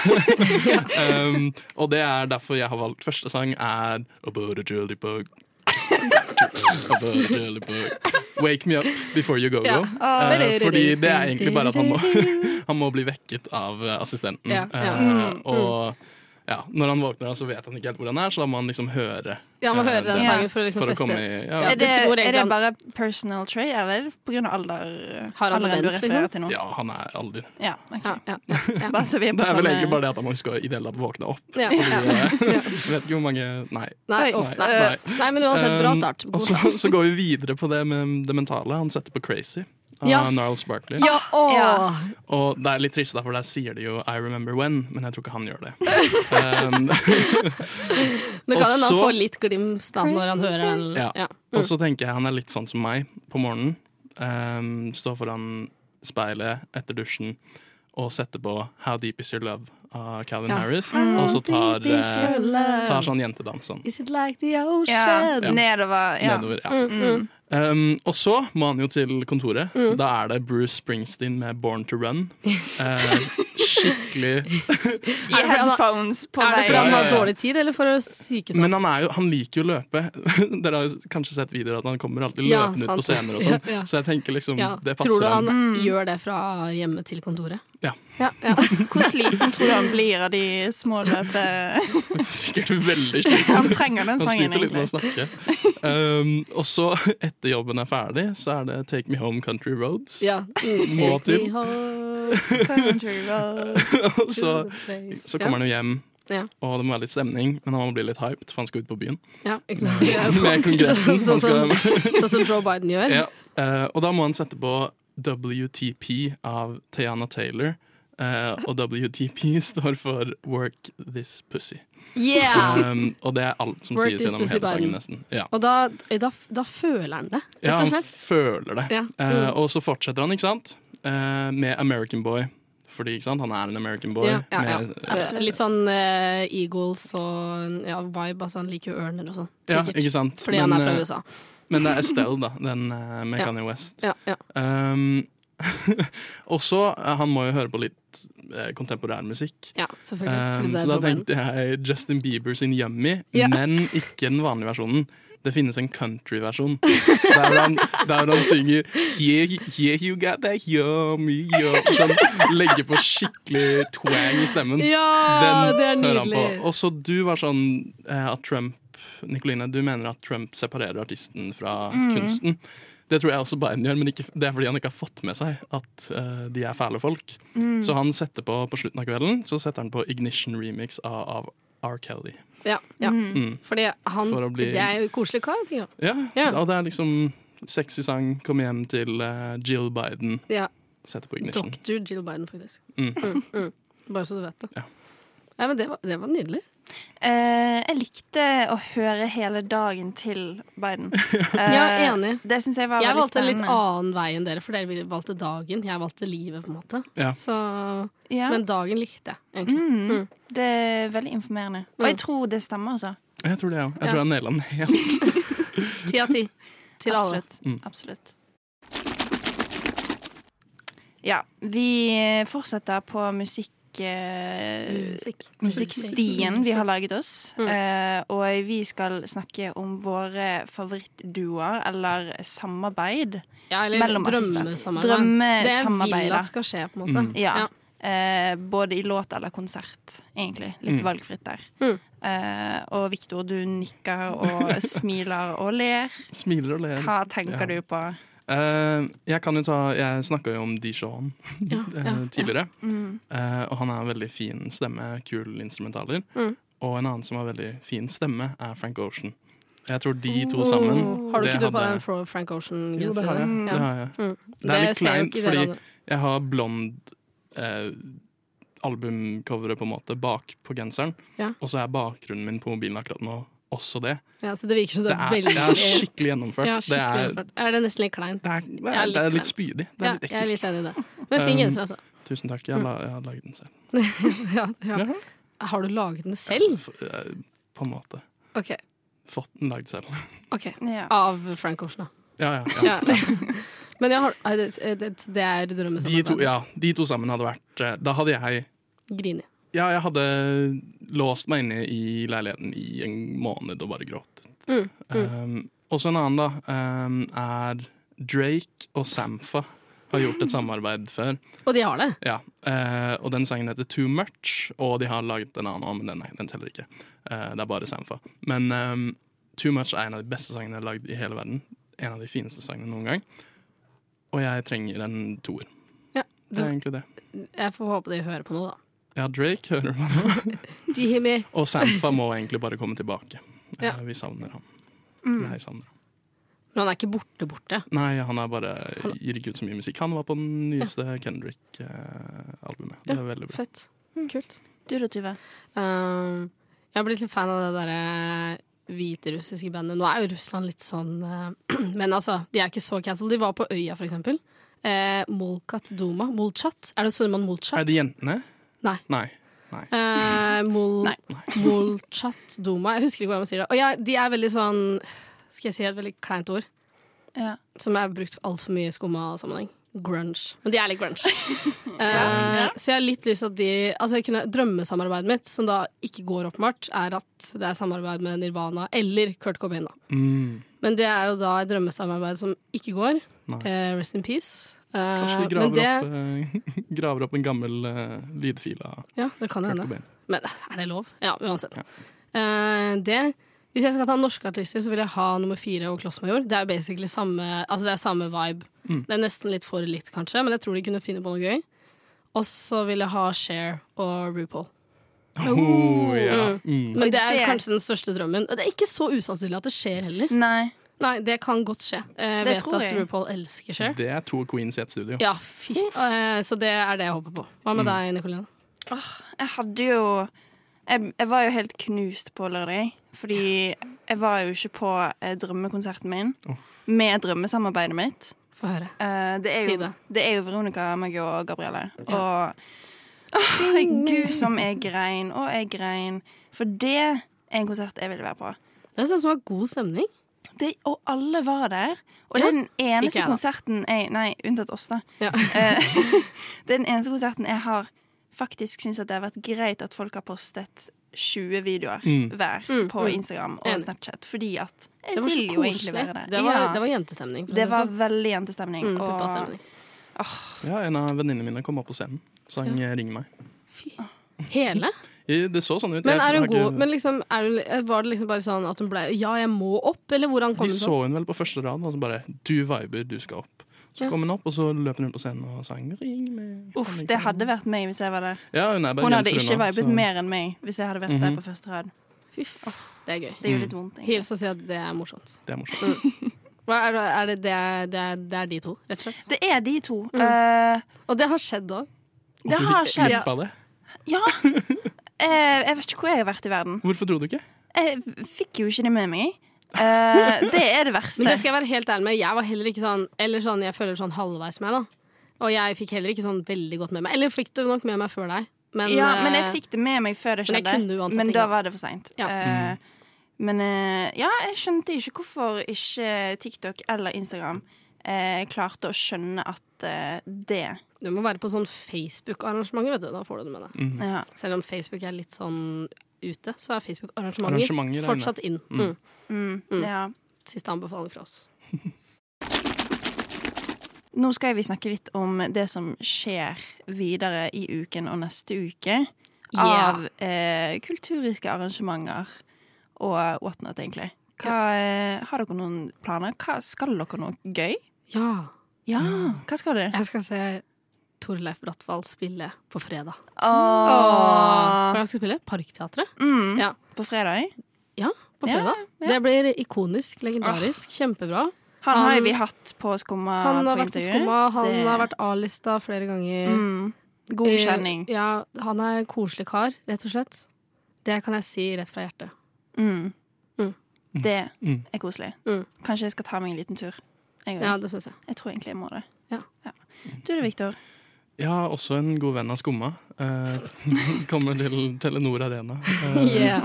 [SPEAKER 4] um, og det er derfor jeg har valgt første sang er About a jellybug. About a jellybug. Wake me up before you go-go.
[SPEAKER 5] Ja.
[SPEAKER 4] Eh, fordi det er egentlig bare at han må, han må bli vekket av eh, assistenten.
[SPEAKER 5] Ja, ja.
[SPEAKER 4] Eh, uh, og ja, når han våkner, da, så vet han ikke helt hvor han er, så da må han liksom høre.
[SPEAKER 5] Ja, man
[SPEAKER 4] eh,
[SPEAKER 5] hører den
[SPEAKER 4] det.
[SPEAKER 5] sangen for å liksom
[SPEAKER 4] For å komme
[SPEAKER 5] feste.
[SPEAKER 4] i ja,
[SPEAKER 5] Ja,
[SPEAKER 3] Er det,
[SPEAKER 5] jeg tror
[SPEAKER 3] er det
[SPEAKER 5] egentlig-
[SPEAKER 3] bare personal trait, eller er det pga. alder?
[SPEAKER 5] Har han
[SPEAKER 3] alderen du
[SPEAKER 5] demens,
[SPEAKER 3] refererer
[SPEAKER 5] liksom?
[SPEAKER 3] til nå?
[SPEAKER 4] ja, han er alder.
[SPEAKER 3] Ja, ok.
[SPEAKER 5] Ja, ja, ja, ja.
[SPEAKER 3] Bare så vi er på
[SPEAKER 4] Det er vel
[SPEAKER 3] samme-
[SPEAKER 4] egentlig bare det at han må huske å i det hele tatt våkne opp.
[SPEAKER 5] ja.
[SPEAKER 4] Jeg vet ikke hvor mange Nei.
[SPEAKER 5] Nei,
[SPEAKER 3] Oi.
[SPEAKER 5] uff, nei.
[SPEAKER 4] nei.
[SPEAKER 5] nei, men uansett, bra
[SPEAKER 4] Um,
[SPEAKER 5] start.
[SPEAKER 4] Og
[SPEAKER 5] God
[SPEAKER 4] så,
[SPEAKER 5] start.
[SPEAKER 4] så går vi videre på det med det mentale. Han setter på Crazy av
[SPEAKER 5] Ja.
[SPEAKER 4] Niles Barkley.
[SPEAKER 5] Ja, å.
[SPEAKER 3] Ja.
[SPEAKER 4] Og det er litt trist, da, for der sier de jo 'I remember when', men jeg tror ikke han gjør det.
[SPEAKER 5] Men kan
[SPEAKER 4] Og
[SPEAKER 5] hende han
[SPEAKER 4] så-
[SPEAKER 5] får litt glimt da, når han hører den.
[SPEAKER 4] Um, ja. Og så tenker jeg han er litt sånn som meg på morgenen. Um, står foran speilet etter dusjen og setter på 'How Deep Is Your Love' av Calvin
[SPEAKER 5] Ja.
[SPEAKER 4] Harris. Og så tar, eh, tar sånn jentedansen
[SPEAKER 5] Is it like the
[SPEAKER 3] Ja,
[SPEAKER 5] ocean?
[SPEAKER 3] nedover. Ja.
[SPEAKER 4] nedover. Ja.
[SPEAKER 5] Mm,
[SPEAKER 4] Um, og så må han jo til kontoret. Da er det Bruce Springsteen med 'Born to Run'. Eh, skikkelig
[SPEAKER 3] I
[SPEAKER 5] fordi han-
[SPEAKER 3] headphones på
[SPEAKER 5] Er det fordi
[SPEAKER 3] vei.
[SPEAKER 5] han
[SPEAKER 4] Ja,
[SPEAKER 5] har
[SPEAKER 4] ja, ja.
[SPEAKER 5] dårlig tid, eller for å syke seg?
[SPEAKER 4] Men han, er jo, han liker jo å løpe. Dere har jo kanskje sett videoer at han kommer alltid
[SPEAKER 5] Ja,
[SPEAKER 4] løpende
[SPEAKER 5] sant.
[SPEAKER 4] ut på scener og sånn.
[SPEAKER 5] Ja, ja.
[SPEAKER 4] Så jeg tenker liksom,
[SPEAKER 5] Ja.
[SPEAKER 4] det
[SPEAKER 5] Tror
[SPEAKER 4] passer
[SPEAKER 5] du
[SPEAKER 4] ham.
[SPEAKER 5] han gjør det fra hjemme til kontoret?
[SPEAKER 4] Ja.
[SPEAKER 5] Ja, ja.
[SPEAKER 3] Hvor sliten tror du han blir av de små løpene?
[SPEAKER 4] Sikkert veldig slik.
[SPEAKER 3] Han trenger den
[SPEAKER 5] Sånn
[SPEAKER 4] Han
[SPEAKER 3] sangen,
[SPEAKER 4] sliter litt med å
[SPEAKER 3] egentlig.
[SPEAKER 4] snakke. Um, og så, etter jobben er ferdig, så er det Take Me Home Country Roads.
[SPEAKER 5] ja.
[SPEAKER 4] Må
[SPEAKER 5] Take
[SPEAKER 4] til.
[SPEAKER 5] me home
[SPEAKER 3] Country road.
[SPEAKER 4] Og
[SPEAKER 5] to
[SPEAKER 4] så,
[SPEAKER 5] the place.
[SPEAKER 4] så kommer han jo hjem,
[SPEAKER 5] Ja.
[SPEAKER 4] og det må være litt stemning, men han må bli litt hyped, for han skal ut på byen.
[SPEAKER 5] Ja, ikke sant. Ja,
[SPEAKER 4] Med kongressen.
[SPEAKER 5] Sånn som,
[SPEAKER 4] Han skal,
[SPEAKER 5] sånn som Joe Biden gjør.
[SPEAKER 4] ja. Eh, og da må han sette på WTP av Tiana Taylor. eh, og WTP står for Work This Pussy.
[SPEAKER 5] Yeah!
[SPEAKER 4] Um, og det er alt som
[SPEAKER 5] Work
[SPEAKER 4] sies
[SPEAKER 5] this
[SPEAKER 4] gjennom hele
[SPEAKER 5] pussy button.
[SPEAKER 4] sangen, nesten. Ja.
[SPEAKER 5] Og da, da, da føler han det,
[SPEAKER 4] ja,
[SPEAKER 5] rett og
[SPEAKER 4] han
[SPEAKER 5] slett.
[SPEAKER 4] føler det.
[SPEAKER 5] Ja. Mm.
[SPEAKER 4] Eh, og så fortsetter han, ikke sant, Eh, med American Boy. Fordi ikke sant, han er en American boy.
[SPEAKER 5] Ja, ja, ja.
[SPEAKER 4] med-
[SPEAKER 5] Absolutt. Litt sånn eh, Eagles og ja, vibe. Altså han liker jo ørner og sånn.
[SPEAKER 4] ja,
[SPEAKER 5] Sikkert.
[SPEAKER 4] ikke sant?
[SPEAKER 5] Fordi han er
[SPEAKER 4] eh,
[SPEAKER 5] fra USA.
[SPEAKER 4] men det er Estelle, da. Den eh, med
[SPEAKER 5] Ja.
[SPEAKER 4] Kanye West.
[SPEAKER 5] Ja, ja.
[SPEAKER 4] Um, og så eh, Han må jo høre på litt eh, kontemporær musikk.
[SPEAKER 5] ja selvfølgelig.
[SPEAKER 4] Um,
[SPEAKER 5] fordi det
[SPEAKER 4] så
[SPEAKER 5] er
[SPEAKER 4] da
[SPEAKER 5] Joe Biden.
[SPEAKER 4] tenkte jeg Justin Bieber sin Yummy,
[SPEAKER 5] Ja.
[SPEAKER 4] men ikke den vanlige versjonen. Det finnes en countryversjon der, han- der han synger Yeah, yeah you got that yummy, yummy Så han legger på skikkelig twang i stemmen.
[SPEAKER 5] Ja, Ah, det er
[SPEAKER 4] hører han på.
[SPEAKER 5] nydelig.
[SPEAKER 4] Og så du var sånn eh, at Trump Nicoline, du mener at Trump separerer artisten fra
[SPEAKER 5] Mhm.
[SPEAKER 4] kunsten. Det tror jeg også Biden gjør, men ikke, det er fordi han ikke har fått med seg at eh, de er fæle folk.
[SPEAKER 5] Mhm.
[SPEAKER 4] Så han setter på på slutten av kvelden Så setter han på Ignition Remix av, av R. Kelly.
[SPEAKER 5] Ja, ja.
[SPEAKER 3] Mm.
[SPEAKER 5] Fordi han
[SPEAKER 4] Mm. For å bli-
[SPEAKER 5] Det er jo en koselig kar. tenker jeg.
[SPEAKER 4] Ja,
[SPEAKER 5] Ja.
[SPEAKER 4] Og det er liksom sexy sang. Kom hjem til eh, Jill Biden.
[SPEAKER 5] Ja,
[SPEAKER 4] Setter på Ignition.
[SPEAKER 5] Dr. Jill Biden, faktisk.
[SPEAKER 4] Mm.
[SPEAKER 5] Mm, mm. Bare så du vet det.
[SPEAKER 4] Ja.
[SPEAKER 5] Nei, men det var, det var nydelig.
[SPEAKER 3] Eh, jeg likte å høre hele dagen til Biden.
[SPEAKER 5] Ja, enig.
[SPEAKER 3] Eh, Det syns jeg var
[SPEAKER 5] Jeg
[SPEAKER 3] veldig
[SPEAKER 5] valgte en
[SPEAKER 3] spennende.
[SPEAKER 5] litt annen vei enn dere, for dere valgte dagen. Jeg valgte livet, på en måte.
[SPEAKER 4] Ja.
[SPEAKER 5] Så,
[SPEAKER 3] Ja, Mm,
[SPEAKER 5] men Mm. dagen likte jeg, egentlig.
[SPEAKER 3] det er veldig informerende. Og
[SPEAKER 5] Mm.
[SPEAKER 3] jeg tror det stemmer, altså.
[SPEAKER 4] Jeg tror det, jeg òg. Jeg
[SPEAKER 5] Ja.
[SPEAKER 4] tror jeg naila den helt.
[SPEAKER 5] Ti av ti til alle.
[SPEAKER 3] Absolutt.
[SPEAKER 4] Mm.
[SPEAKER 3] Absolutt. Ja, vi fortsetter på musikk... eh,
[SPEAKER 5] Musikk.
[SPEAKER 3] musikkstien vi har laget oss. Eh, og vi skal snakke om våre favorittduoer eller samarbeid.
[SPEAKER 5] Ja, eller
[SPEAKER 3] mellom artister. Mm.
[SPEAKER 5] drømmesamarbeid.
[SPEAKER 3] Drømmesamarbeid,
[SPEAKER 5] Det jeg vil
[SPEAKER 3] da.
[SPEAKER 5] at skal skje, på en måte.
[SPEAKER 3] Ja.
[SPEAKER 5] Ja.
[SPEAKER 3] Eh, både i låt eller konsert, egentlig. Litt valgfritt der.
[SPEAKER 5] Mm.
[SPEAKER 3] Eh, og Viktor, du nikker og smiler og ler.
[SPEAKER 4] Smiler og ler.
[SPEAKER 3] Hva tenker
[SPEAKER 4] Ja.
[SPEAKER 3] du på?
[SPEAKER 4] Eh, jeg kan jo ta Jeg snakka jo om Dijon
[SPEAKER 5] Ja,
[SPEAKER 4] eh,
[SPEAKER 5] ja, Mm. ja.
[SPEAKER 4] tidligere. Eh, og han har en veldig fin stemme, kul instrumentaler.
[SPEAKER 5] Mm.
[SPEAKER 4] Og en annen som har veldig fin stemme, er Frank Ocean. Jeg tror de to sammen
[SPEAKER 5] Oh. Mm. Har du
[SPEAKER 4] det
[SPEAKER 5] ikke du på
[SPEAKER 4] hadde-
[SPEAKER 5] den Fro- Frank
[SPEAKER 4] Jo, det har jeg.
[SPEAKER 5] Ocean-genseren?
[SPEAKER 4] Det, har jeg. det er
[SPEAKER 5] Mm. Det
[SPEAKER 4] litt
[SPEAKER 5] ser jo
[SPEAKER 4] kleint,
[SPEAKER 5] ikke dere
[SPEAKER 4] fordi
[SPEAKER 5] alle.
[SPEAKER 4] jeg har blond eh, albumcoveret på en måte bak på genseren,
[SPEAKER 5] Ja.
[SPEAKER 4] og så er bakgrunnen min på mobilen akkurat nå også det.
[SPEAKER 5] Ja, så det virker som du
[SPEAKER 4] Det
[SPEAKER 5] er
[SPEAKER 4] er,
[SPEAKER 5] veldig
[SPEAKER 4] det er skikkelig gjennomført.
[SPEAKER 5] Ja,
[SPEAKER 4] det
[SPEAKER 5] skikkelig
[SPEAKER 4] er,
[SPEAKER 5] gjennomført. Er det nesten litt kleint?
[SPEAKER 4] det er, det
[SPEAKER 5] Jeg
[SPEAKER 4] er, det er litt
[SPEAKER 5] kleint.
[SPEAKER 4] spydig. Det
[SPEAKER 5] Ja,
[SPEAKER 4] er litt
[SPEAKER 5] jeg er
[SPEAKER 4] ekkelt.
[SPEAKER 5] litt enig i det. Men fin
[SPEAKER 4] Um,
[SPEAKER 5] genser, altså.
[SPEAKER 4] Tusen takk. Jeg, la, jeg har laget den selv.
[SPEAKER 5] Ja, ja.
[SPEAKER 4] Jaha.
[SPEAKER 5] Har du laget den selv?
[SPEAKER 4] F- eh, På en måte.
[SPEAKER 5] OK.
[SPEAKER 4] Fått den lagd selv.
[SPEAKER 5] ok
[SPEAKER 3] Ja.
[SPEAKER 5] Av Frank Ocean, da.
[SPEAKER 4] Ja, ja, ja.
[SPEAKER 5] Ja. Men jeg har, nei, det, det, det sånn er
[SPEAKER 4] De, to,
[SPEAKER 5] drømmesamarbeid.
[SPEAKER 4] ja, de to sammen hadde vært eh, Da hadde jeg
[SPEAKER 5] Grini.
[SPEAKER 4] Ja, jeg hadde låst meg inne i leiligheten i en måned og bare gråtet.
[SPEAKER 5] Mm,
[SPEAKER 4] Ehm, Um, også en annen, da, um, er Drake og Sampha. har gjort et samarbeid før.
[SPEAKER 5] Og de har det.
[SPEAKER 4] Ja, eh, Og den sangen heter Too Much, og de har laget en annen òg, men den, nei, den teller ikke. Eh, det er bare Sampha. Men ehm, Too Much er en av de beste sangene jeg har lagd i hele verden. En av de fineste sangene noen gang. Og jeg trenger en toer.
[SPEAKER 5] Ja,
[SPEAKER 4] Det er
[SPEAKER 5] du,
[SPEAKER 4] egentlig det.
[SPEAKER 5] jeg får håpe de hører på noe, da.
[SPEAKER 4] Ja, Drake hører man.
[SPEAKER 5] Jimmy.
[SPEAKER 4] Og Sampha må egentlig bare komme tilbake. Eh,
[SPEAKER 5] Ja. Mm.
[SPEAKER 4] Vi savner ham. Jeg savner ham.
[SPEAKER 5] Men han er ikke borte, borte.
[SPEAKER 4] Nei, han er bare gir ikke ut så mye musikk. Han var på den nyeste Kendrick-albumet. Det er veldig bra.
[SPEAKER 5] Fett. Kult.
[SPEAKER 3] Du da, Tuve?
[SPEAKER 5] Um, jeg har blitt litt fan av det derre hviterussiske bandet. Nå er jo Russland litt sånn eh, Men altså, de er ikke så cancelled. De var på Øya, for eksempel. Eh, Molkat Duma. Molchat. Er det sånn man Molchat?
[SPEAKER 4] Er det jentene?
[SPEAKER 5] Nei.
[SPEAKER 4] Nei.
[SPEAKER 5] Eh, mol,
[SPEAKER 3] Nei.
[SPEAKER 5] Molchat Duma. Jeg husker ikke hvordan man sier det. Og ja, de er veldig sånn Skal jeg si et veldig kleint ord?
[SPEAKER 3] Ja.
[SPEAKER 5] som er brukt altfor mye i skumma sammenheng. Grunge. Men de er litt grunge. Eh, så jeg har litt lyst til at de Altså jeg kunne, Drømmesamarbeidet mitt, som da ikke går åpenbart, er at det er samarbeid med Nirvana eller Kurt Cobain. Da.
[SPEAKER 4] Mm.
[SPEAKER 5] Men det er jo da et drømmesamarbeid som ikke går.
[SPEAKER 4] Nei.
[SPEAKER 5] Eh, rest in peace. Eh,
[SPEAKER 4] Kanskje de
[SPEAKER 5] men
[SPEAKER 4] graver,
[SPEAKER 5] det,
[SPEAKER 4] opp, eh, graver opp en gammel eh, lydfil av
[SPEAKER 5] ja, det kan
[SPEAKER 4] Kurt
[SPEAKER 5] hende.
[SPEAKER 4] Cobain.
[SPEAKER 5] Men er det lov? Ja, uansett. Eh, det Hvis jeg skal ta norske artister, så vil jeg ha nummer fire og Klossmajor. Det er jo basically samme, altså det er samme vibe.
[SPEAKER 4] Mm.
[SPEAKER 5] Det er nesten litt for litt, kanskje, men jeg tror de kunne finne på noe gøy. Og så vil jeg ha Cher og RuPaul.
[SPEAKER 4] Oh, ja. mm.
[SPEAKER 5] Men det er
[SPEAKER 3] det-
[SPEAKER 5] kanskje den største drømmen. Og Det er ikke så usannsynlig at det skjer heller.
[SPEAKER 3] Nei.
[SPEAKER 5] Nei, det kan godt skje. Eh, Jeg
[SPEAKER 3] Det
[SPEAKER 5] vet
[SPEAKER 3] tror
[SPEAKER 5] at
[SPEAKER 3] jeg.
[SPEAKER 5] RuPaul elsker Cher.
[SPEAKER 4] Det er to queens i ett studio.
[SPEAKER 5] Ja, fy. Eh, Så det er det jeg håper på. Hva
[SPEAKER 4] Mm.
[SPEAKER 5] med deg, Nicoline?
[SPEAKER 3] Jeg hadde jo jeg, jeg var jo helt knust på lørdag, jeg. fordi jeg var jo ikke på eh, drømmekonserten min med drømmesamarbeidet mitt.
[SPEAKER 5] Få høre.
[SPEAKER 3] Eh, det, er
[SPEAKER 5] Si
[SPEAKER 3] jo,
[SPEAKER 5] det.
[SPEAKER 3] det er jo Veronica, meg og Gabrielle. Og Åh, gud som jeg grein, og jeg grein. For det er en konsert jeg ville være på.
[SPEAKER 5] Det
[SPEAKER 3] sånn
[SPEAKER 5] synes jeg var god stemning.
[SPEAKER 3] Det, og alle var der. Og
[SPEAKER 5] Ja,
[SPEAKER 3] det er den
[SPEAKER 5] ikke
[SPEAKER 3] eneste
[SPEAKER 5] jeg da.
[SPEAKER 3] konserten jeg, Nei, unntatt oss, da.
[SPEAKER 5] Ja.
[SPEAKER 3] Eh, det er den eneste konserten jeg har faktisk syns at det har vært greit at folk har postet 20 videoer hver på Instagram og
[SPEAKER 5] Mm. Enig.
[SPEAKER 3] Snapchat, fordi at
[SPEAKER 5] Det
[SPEAKER 3] jeg
[SPEAKER 5] var så
[SPEAKER 3] vil jo egentlig
[SPEAKER 5] koselig.
[SPEAKER 3] være der.
[SPEAKER 5] Det var,
[SPEAKER 3] ja,
[SPEAKER 5] det var jentestemning. for å
[SPEAKER 3] det
[SPEAKER 5] si
[SPEAKER 3] var
[SPEAKER 5] sånn.
[SPEAKER 3] veldig jentestemning.
[SPEAKER 5] Mm,
[SPEAKER 3] og
[SPEAKER 5] puppastemning.
[SPEAKER 4] Ja, en av venninnene mine kom opp på scenen. Sang eh, 'Ring meg'.
[SPEAKER 5] Hele?
[SPEAKER 4] I- Det så sånn ut.
[SPEAKER 5] Men,
[SPEAKER 4] Jeg
[SPEAKER 5] er
[SPEAKER 4] har
[SPEAKER 5] hun
[SPEAKER 4] ikke-
[SPEAKER 5] god, men liksom, er hun, var det liksom bare sånn at hun ble Ja, jeg må opp, eller hvordan kom hun
[SPEAKER 4] de
[SPEAKER 5] sånn?
[SPEAKER 4] så hun vel på første rad, og så bare 'du viber, du skal opp'. Så
[SPEAKER 5] Ja. Oh.
[SPEAKER 4] kom hun opp, og så løp hun rundt på scenen og sang 'Ring meg'.
[SPEAKER 3] Uff, det hadde vært meg hvis jeg var der.
[SPEAKER 4] Ja, hun er
[SPEAKER 3] Hun hadde ikke
[SPEAKER 4] bergenserunna,
[SPEAKER 3] vibet
[SPEAKER 4] så-
[SPEAKER 3] mer enn meg hvis jeg hadde vært der på første rad.
[SPEAKER 5] Fy faen, det er gøy.
[SPEAKER 3] Det er jo litt vondt. egentlig.
[SPEAKER 5] Hils og si at det er morsomt.
[SPEAKER 4] Det er morsomt.
[SPEAKER 5] Hva er det, er det, det, er, det, er, det er de to, rett og slett.
[SPEAKER 3] Det er de to. Eh,
[SPEAKER 5] Og det har skjedd òg.
[SPEAKER 3] det har
[SPEAKER 4] Hvorfor gikk
[SPEAKER 3] skjedd.
[SPEAKER 4] glipp av det?
[SPEAKER 3] Ja. Eh, jeg vet ikke hvor jeg har vært i verden.
[SPEAKER 4] Hvorfor tror du ikke?
[SPEAKER 3] Jeg fikk jo ikke det med meg. Eh, det er det verste.
[SPEAKER 5] Men det skal jeg være helt ærlig med, jeg var heller ikke sånn Eller sånn, jeg føler sånn halvveis med, da. Og jeg fikk heller ikke sånn veldig godt med meg. Eller fikk det nok med meg før deg. Men,
[SPEAKER 3] ja, men jeg
[SPEAKER 5] eh,
[SPEAKER 3] fikk det med meg før det
[SPEAKER 5] men jeg
[SPEAKER 3] skjedde.
[SPEAKER 5] kunne uansett
[SPEAKER 3] Men
[SPEAKER 5] ikke.
[SPEAKER 3] da var det for seint.
[SPEAKER 5] Ja.
[SPEAKER 3] Mm. men eh, ja, jeg skjønte ikke hvorfor ikke TikTok eller Instagram eh, klarte å skjønne at eh, det
[SPEAKER 5] Du må være på sånn Facebook-arrangement, vet du. Da får du det med deg.
[SPEAKER 3] ja.
[SPEAKER 5] Selv om Facebook er litt sånn ute, så er
[SPEAKER 4] Arrangementer er
[SPEAKER 5] Facebook-arrangementer
[SPEAKER 4] inne.
[SPEAKER 5] fortsatt inn. Mm.
[SPEAKER 3] ja.
[SPEAKER 5] Siste anbefaling fra oss.
[SPEAKER 3] Nå skal vi snakke litt om det som skjer videre i uken og neste uke.
[SPEAKER 5] Yeah.
[SPEAKER 3] Av eh, kulturiske arrangementer og whatnot, egentlig. Hva, eh, har dere noen planer? Hva, skal dere noe gøy?
[SPEAKER 5] Ja.
[SPEAKER 3] Ja, hva skal du?
[SPEAKER 5] Jeg skal se Torleif Brattval spille på fredag. Hva er
[SPEAKER 3] Åh.
[SPEAKER 5] det han skal spille? Parkteatret?
[SPEAKER 3] Mm.
[SPEAKER 5] Ja.
[SPEAKER 3] På fredag?
[SPEAKER 5] Ja, på
[SPEAKER 3] Ja,
[SPEAKER 5] fredag. Det blir ikonisk, legendarisk, kjempebra.
[SPEAKER 3] Han,
[SPEAKER 5] Han-
[SPEAKER 3] har jo vi hatt på Skumma
[SPEAKER 5] Han har
[SPEAKER 3] på
[SPEAKER 5] vært på
[SPEAKER 3] intervju.
[SPEAKER 5] skumma, han
[SPEAKER 3] Det-
[SPEAKER 5] har vært A-lista flere ganger.
[SPEAKER 3] mm. God kjenning.
[SPEAKER 5] Eh, Ja, han er en koselig kar, rett og slett. Det kan jeg si rett fra hjertet.
[SPEAKER 3] Mm.
[SPEAKER 5] Mm.
[SPEAKER 3] Det
[SPEAKER 4] Mm.
[SPEAKER 3] er koselig.
[SPEAKER 5] Mm.
[SPEAKER 3] Kanskje jeg skal ta meg en liten tur. Jeg,
[SPEAKER 5] Ja,
[SPEAKER 3] også.
[SPEAKER 5] det syns jeg.
[SPEAKER 3] jeg tror egentlig jeg må det.
[SPEAKER 5] Ja.
[SPEAKER 3] Du da, Victor.
[SPEAKER 4] Jeg har også en god venn av Skumma. Eh, kommer til Telenor Arena. Eh,
[SPEAKER 5] Yeah.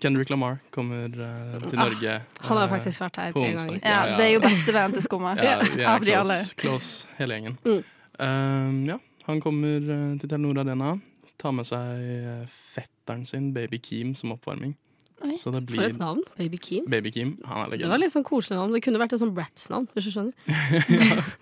[SPEAKER 4] Kendrick Lamar kommer eh, til Norge.
[SPEAKER 5] Ah, Han har
[SPEAKER 4] eh,
[SPEAKER 5] faktisk vært her
[SPEAKER 4] på
[SPEAKER 5] tre
[SPEAKER 4] onsdag.
[SPEAKER 5] ganger.
[SPEAKER 3] Ja,
[SPEAKER 4] Ja, ja.
[SPEAKER 3] Det er jo bestevennen til Skumma.
[SPEAKER 4] Ja, vi er
[SPEAKER 3] Av de alle.
[SPEAKER 4] close, close hele gjengen.
[SPEAKER 5] Mm.
[SPEAKER 4] Um, ja, han kommer eh, til Telenor Arena. Tar med seg eh, fetteren sin, baby Keem, som oppvarming. Så det
[SPEAKER 5] For
[SPEAKER 4] blir
[SPEAKER 5] et navn. Baby Keem.
[SPEAKER 4] Baby Kim. Han er
[SPEAKER 5] Det var
[SPEAKER 4] legende.
[SPEAKER 5] litt sånn koselig navn. Det kunne vært et sånn Bratz-navn, hvis du skjønner.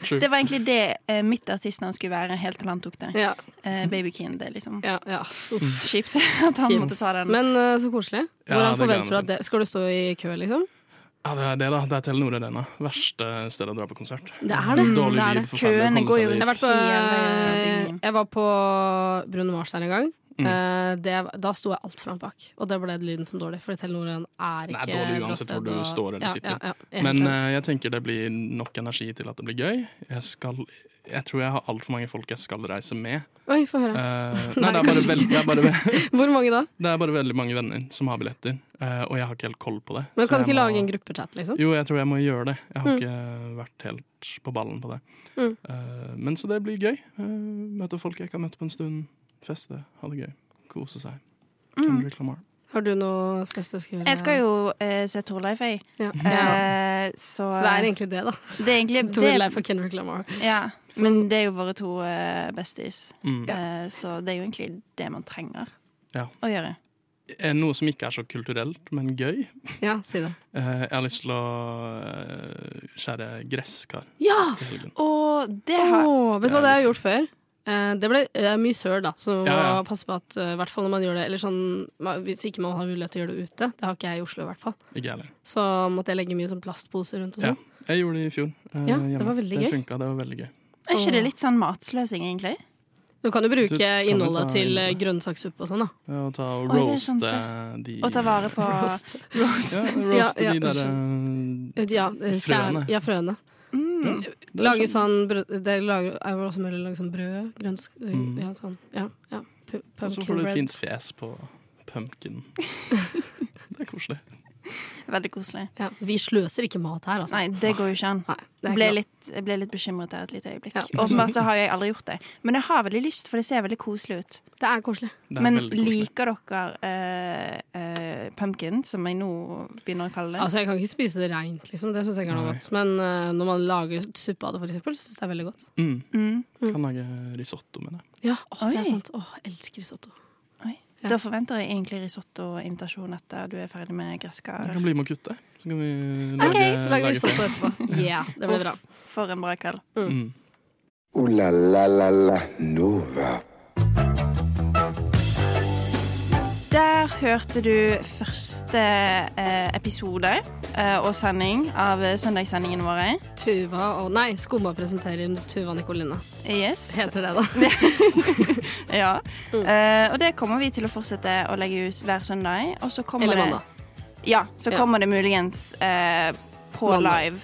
[SPEAKER 4] True.
[SPEAKER 3] Det var egentlig det eh, mitt artistnavn skulle være helt til han tok det.
[SPEAKER 5] Ja,
[SPEAKER 3] Eh, Baby Keen. Det er liksom
[SPEAKER 5] ja, ja. Uff,
[SPEAKER 3] kjipt at han måtte ta den.
[SPEAKER 5] Men eh, så koselig.
[SPEAKER 4] Ja,
[SPEAKER 5] Hvordan
[SPEAKER 4] det
[SPEAKER 5] forventer du
[SPEAKER 4] gleder jeg
[SPEAKER 5] at det Skal du stå i kø, liksom?
[SPEAKER 4] Ja, det er det, da. Det er Telenor Arena. Verste stedet å dra på konsert.
[SPEAKER 5] Det er det.
[SPEAKER 4] Dårlig
[SPEAKER 5] det er det.
[SPEAKER 4] lyd, forferdelig å
[SPEAKER 3] Køene
[SPEAKER 4] komme
[SPEAKER 3] går
[SPEAKER 4] seg
[SPEAKER 3] jo
[SPEAKER 5] Jeg,
[SPEAKER 4] dit.
[SPEAKER 5] har vært på, eh,
[SPEAKER 3] Hele byen.
[SPEAKER 5] jeg var på Bruno Mars der en gang.
[SPEAKER 4] Mm.
[SPEAKER 5] Eh, Det, da sto jeg altfor langt bak, og det ble lyden som dårlig. Fordi Telenor er
[SPEAKER 4] Det
[SPEAKER 5] ikke
[SPEAKER 4] er dårlig
[SPEAKER 5] bra
[SPEAKER 4] uansett
[SPEAKER 5] sted
[SPEAKER 4] hvor du
[SPEAKER 5] å-
[SPEAKER 4] står eller
[SPEAKER 5] Ja,
[SPEAKER 4] sitter.
[SPEAKER 5] Ja, ja,
[SPEAKER 4] Men
[SPEAKER 5] egentlig.
[SPEAKER 4] eh, jeg tenker det blir nok energi til at det blir gøy. Jeg, skal, jeg tror jeg har altfor mange folk jeg skal reise med.
[SPEAKER 5] Oi, få
[SPEAKER 4] Eh,
[SPEAKER 5] høre.
[SPEAKER 4] nei, det er, bare veld, det, er bare, ve-
[SPEAKER 5] Hvor mange da?
[SPEAKER 4] det er bare veldig mange venner som har billetter, eh, og jeg har ikke helt koll på det.
[SPEAKER 5] Men Kan
[SPEAKER 4] så
[SPEAKER 5] du
[SPEAKER 4] jeg
[SPEAKER 5] ikke
[SPEAKER 4] må-
[SPEAKER 5] lage en gruppechat, liksom?
[SPEAKER 4] Jo, jeg tror jeg må gjøre det. Jeg har ikke vært helt på ballen på det.
[SPEAKER 5] Mm.
[SPEAKER 4] Eh, men så det blir gøy. Eh, møte folk jeg ikke har møtt på en stund. Feste, ha det gøy. Kose seg.
[SPEAKER 5] Mm.
[SPEAKER 4] Kendrick Lamar.
[SPEAKER 5] Har du noe spesielt du skal gjøre?
[SPEAKER 3] Jeg skal jo eh, se Torleif, jeg.
[SPEAKER 5] Ja.
[SPEAKER 3] Eh, så, eh,
[SPEAKER 5] Så det er egentlig det, da.
[SPEAKER 3] det er egentlig
[SPEAKER 5] Tore
[SPEAKER 3] det-
[SPEAKER 5] Leif og Kendrick Lamar.
[SPEAKER 3] Ja. Men det er jo våre to eh, besties,
[SPEAKER 4] Mm.
[SPEAKER 3] Eh, så det er jo egentlig det man trenger
[SPEAKER 4] Ja.
[SPEAKER 3] å gjøre.
[SPEAKER 4] Eh, Noe som ikke er så kulturelt, men gøy.
[SPEAKER 5] Ja, si det.
[SPEAKER 4] Eh, jeg har lyst til å eh, skjære gresskar
[SPEAKER 5] Ja!
[SPEAKER 4] til helgen.
[SPEAKER 3] Og det har
[SPEAKER 5] Åh, vet du hva det
[SPEAKER 4] Det
[SPEAKER 5] har
[SPEAKER 4] er
[SPEAKER 5] jeg gjort før? Eh, Det ble eh, mye søl, da, så man må
[SPEAKER 4] liksom. Ja, ja.
[SPEAKER 5] passe på at eh, i hvert fall når man gjør det Eller sånn, ma- hvis ikke man har mulighet til å gjøre det ute, det har ikke jeg i Oslo i hvert fall,
[SPEAKER 4] Ikke jeg heller.
[SPEAKER 5] så måtte jeg legge mye sånn plastposer rundt og
[SPEAKER 4] Ja.
[SPEAKER 5] sånn.
[SPEAKER 4] Jeg gjorde det i fjor. eh,
[SPEAKER 5] Ja, det var veldig
[SPEAKER 4] det
[SPEAKER 5] gøy.
[SPEAKER 4] funka, det var veldig gøy.
[SPEAKER 3] Er ikke det litt sånn matsløsing, egentlig?
[SPEAKER 5] Du kan jo
[SPEAKER 4] Du
[SPEAKER 5] bruke
[SPEAKER 4] kan jo
[SPEAKER 5] innholdet
[SPEAKER 4] ta
[SPEAKER 5] til eh,
[SPEAKER 4] innholdet.
[SPEAKER 5] grønnsakssuppe og sånn, da.
[SPEAKER 4] Ja, Å ta og
[SPEAKER 3] Oi, det er sant,
[SPEAKER 4] roaste de
[SPEAKER 3] Å ta vare på
[SPEAKER 5] Roast.
[SPEAKER 4] Ja,
[SPEAKER 3] roast.
[SPEAKER 4] roaste
[SPEAKER 5] Ja, ja,
[SPEAKER 4] de der eh,
[SPEAKER 5] Ja, eh, kjern,
[SPEAKER 4] Frøene.
[SPEAKER 5] ja, frøene.
[SPEAKER 3] Mm.
[SPEAKER 4] det er
[SPEAKER 5] Lage
[SPEAKER 4] sånn-
[SPEAKER 5] sånn brød Det lager, er jo også mulig å lage sånn brød, grønnsk... Ja, sånn. Ja. ja. Pu-
[SPEAKER 4] Mm. Og så får du
[SPEAKER 5] Pumpkin
[SPEAKER 4] et
[SPEAKER 5] bread.
[SPEAKER 4] fint fjes på pumpkin. Det er koselig.
[SPEAKER 3] Veldig koselig.
[SPEAKER 5] Ja. Vi sløser ikke mat her, altså.
[SPEAKER 3] Nei, det går jo ikke an.
[SPEAKER 5] Nei, det er
[SPEAKER 3] Ble
[SPEAKER 5] ikke lov.
[SPEAKER 3] litt, jeg ble litt bekymret der et lite øyeblikk.
[SPEAKER 5] Ja.
[SPEAKER 3] Åpenbart så har jeg aldri gjort det. Men jeg har veldig lyst, for det ser veldig koselig ut.
[SPEAKER 5] Det er koselig.
[SPEAKER 4] Det er
[SPEAKER 3] Men
[SPEAKER 4] veldig koselig.
[SPEAKER 3] liker dere eh, eh, pumpkin, som jeg nå begynner å kalle det?
[SPEAKER 5] Altså, jeg kan ikke spise det reint, liksom. Det syns jeg ikke er noe
[SPEAKER 4] Nei.
[SPEAKER 5] godt. Men eh, når man lager suppe av det, for eksempel, så syns jeg det er veldig godt.
[SPEAKER 4] Mm.
[SPEAKER 3] Mm.
[SPEAKER 4] Kan lage risotto med det.
[SPEAKER 5] Ja, åh, det
[SPEAKER 3] Oi.
[SPEAKER 5] er sant. Åh, jeg elsker risotto.
[SPEAKER 3] Oi.
[SPEAKER 5] Ja.
[SPEAKER 3] Da forventer jeg egentlig risottoinvitasjon etter du er ferdig med
[SPEAKER 4] Jeg
[SPEAKER 3] gresskar.
[SPEAKER 4] kan bli med og kutte. Så kan vi lage,
[SPEAKER 5] OK, så lager vi risotto
[SPEAKER 4] fjes.
[SPEAKER 5] etterpå. Yeah, det blir bra.
[SPEAKER 3] Uff, For en bra kveld.
[SPEAKER 4] Mm.
[SPEAKER 2] Ooh la la la la Nova.
[SPEAKER 3] Der hørte du første eh, episode eh, og sending av eh, søndagssendingen vår.
[SPEAKER 5] Tuva og Nei, Skumma presenterer Tuva Nikoline.
[SPEAKER 3] Yes.
[SPEAKER 5] Heter det, da.
[SPEAKER 3] Ja.
[SPEAKER 5] Mm.
[SPEAKER 3] Eh, og det kommer vi til å fortsette å legge ut hver søndag. Og så kommer
[SPEAKER 5] Eller
[SPEAKER 3] det-
[SPEAKER 5] mandag.
[SPEAKER 3] Ja, så
[SPEAKER 5] Ja.
[SPEAKER 3] kommer det muligens eh, på
[SPEAKER 5] Mandag.
[SPEAKER 3] live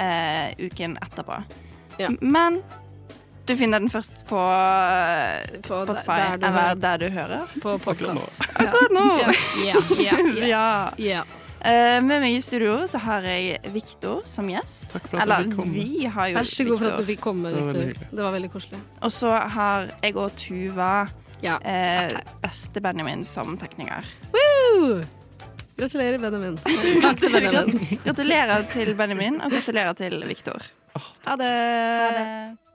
[SPEAKER 3] eh, uken etterpå.
[SPEAKER 5] Ja.
[SPEAKER 3] M- Men du finner den først på, eh,
[SPEAKER 5] På der-
[SPEAKER 3] Spotify,
[SPEAKER 5] der du
[SPEAKER 3] eller
[SPEAKER 5] hører.
[SPEAKER 3] der du hører.
[SPEAKER 5] På podkast.
[SPEAKER 3] Akkurat nå!
[SPEAKER 5] Yeah, yeah,
[SPEAKER 3] Ja.
[SPEAKER 5] yeah. yeah.
[SPEAKER 3] Eh, med meg i studio så har jeg Viktor som gjest.
[SPEAKER 4] Takk for at
[SPEAKER 3] eller
[SPEAKER 4] jeg fikk komme.
[SPEAKER 3] vi har jo
[SPEAKER 5] Vær så god for at du
[SPEAKER 3] Viktor.
[SPEAKER 5] fikk komme,
[SPEAKER 4] Det var veldig
[SPEAKER 5] Victor.
[SPEAKER 4] hyggelig.
[SPEAKER 5] Det var veldig koselig.
[SPEAKER 3] Og så har jeg og Tuva,
[SPEAKER 5] Ja.
[SPEAKER 3] eh, beste Benjamin, som tekniker.
[SPEAKER 5] Woo! Gratulerer, Benjamin. Takk til Benjamin.
[SPEAKER 3] Gratulerer til Benjamin, og gratulerer til Viktor.
[SPEAKER 5] Ha det.
[SPEAKER 3] det.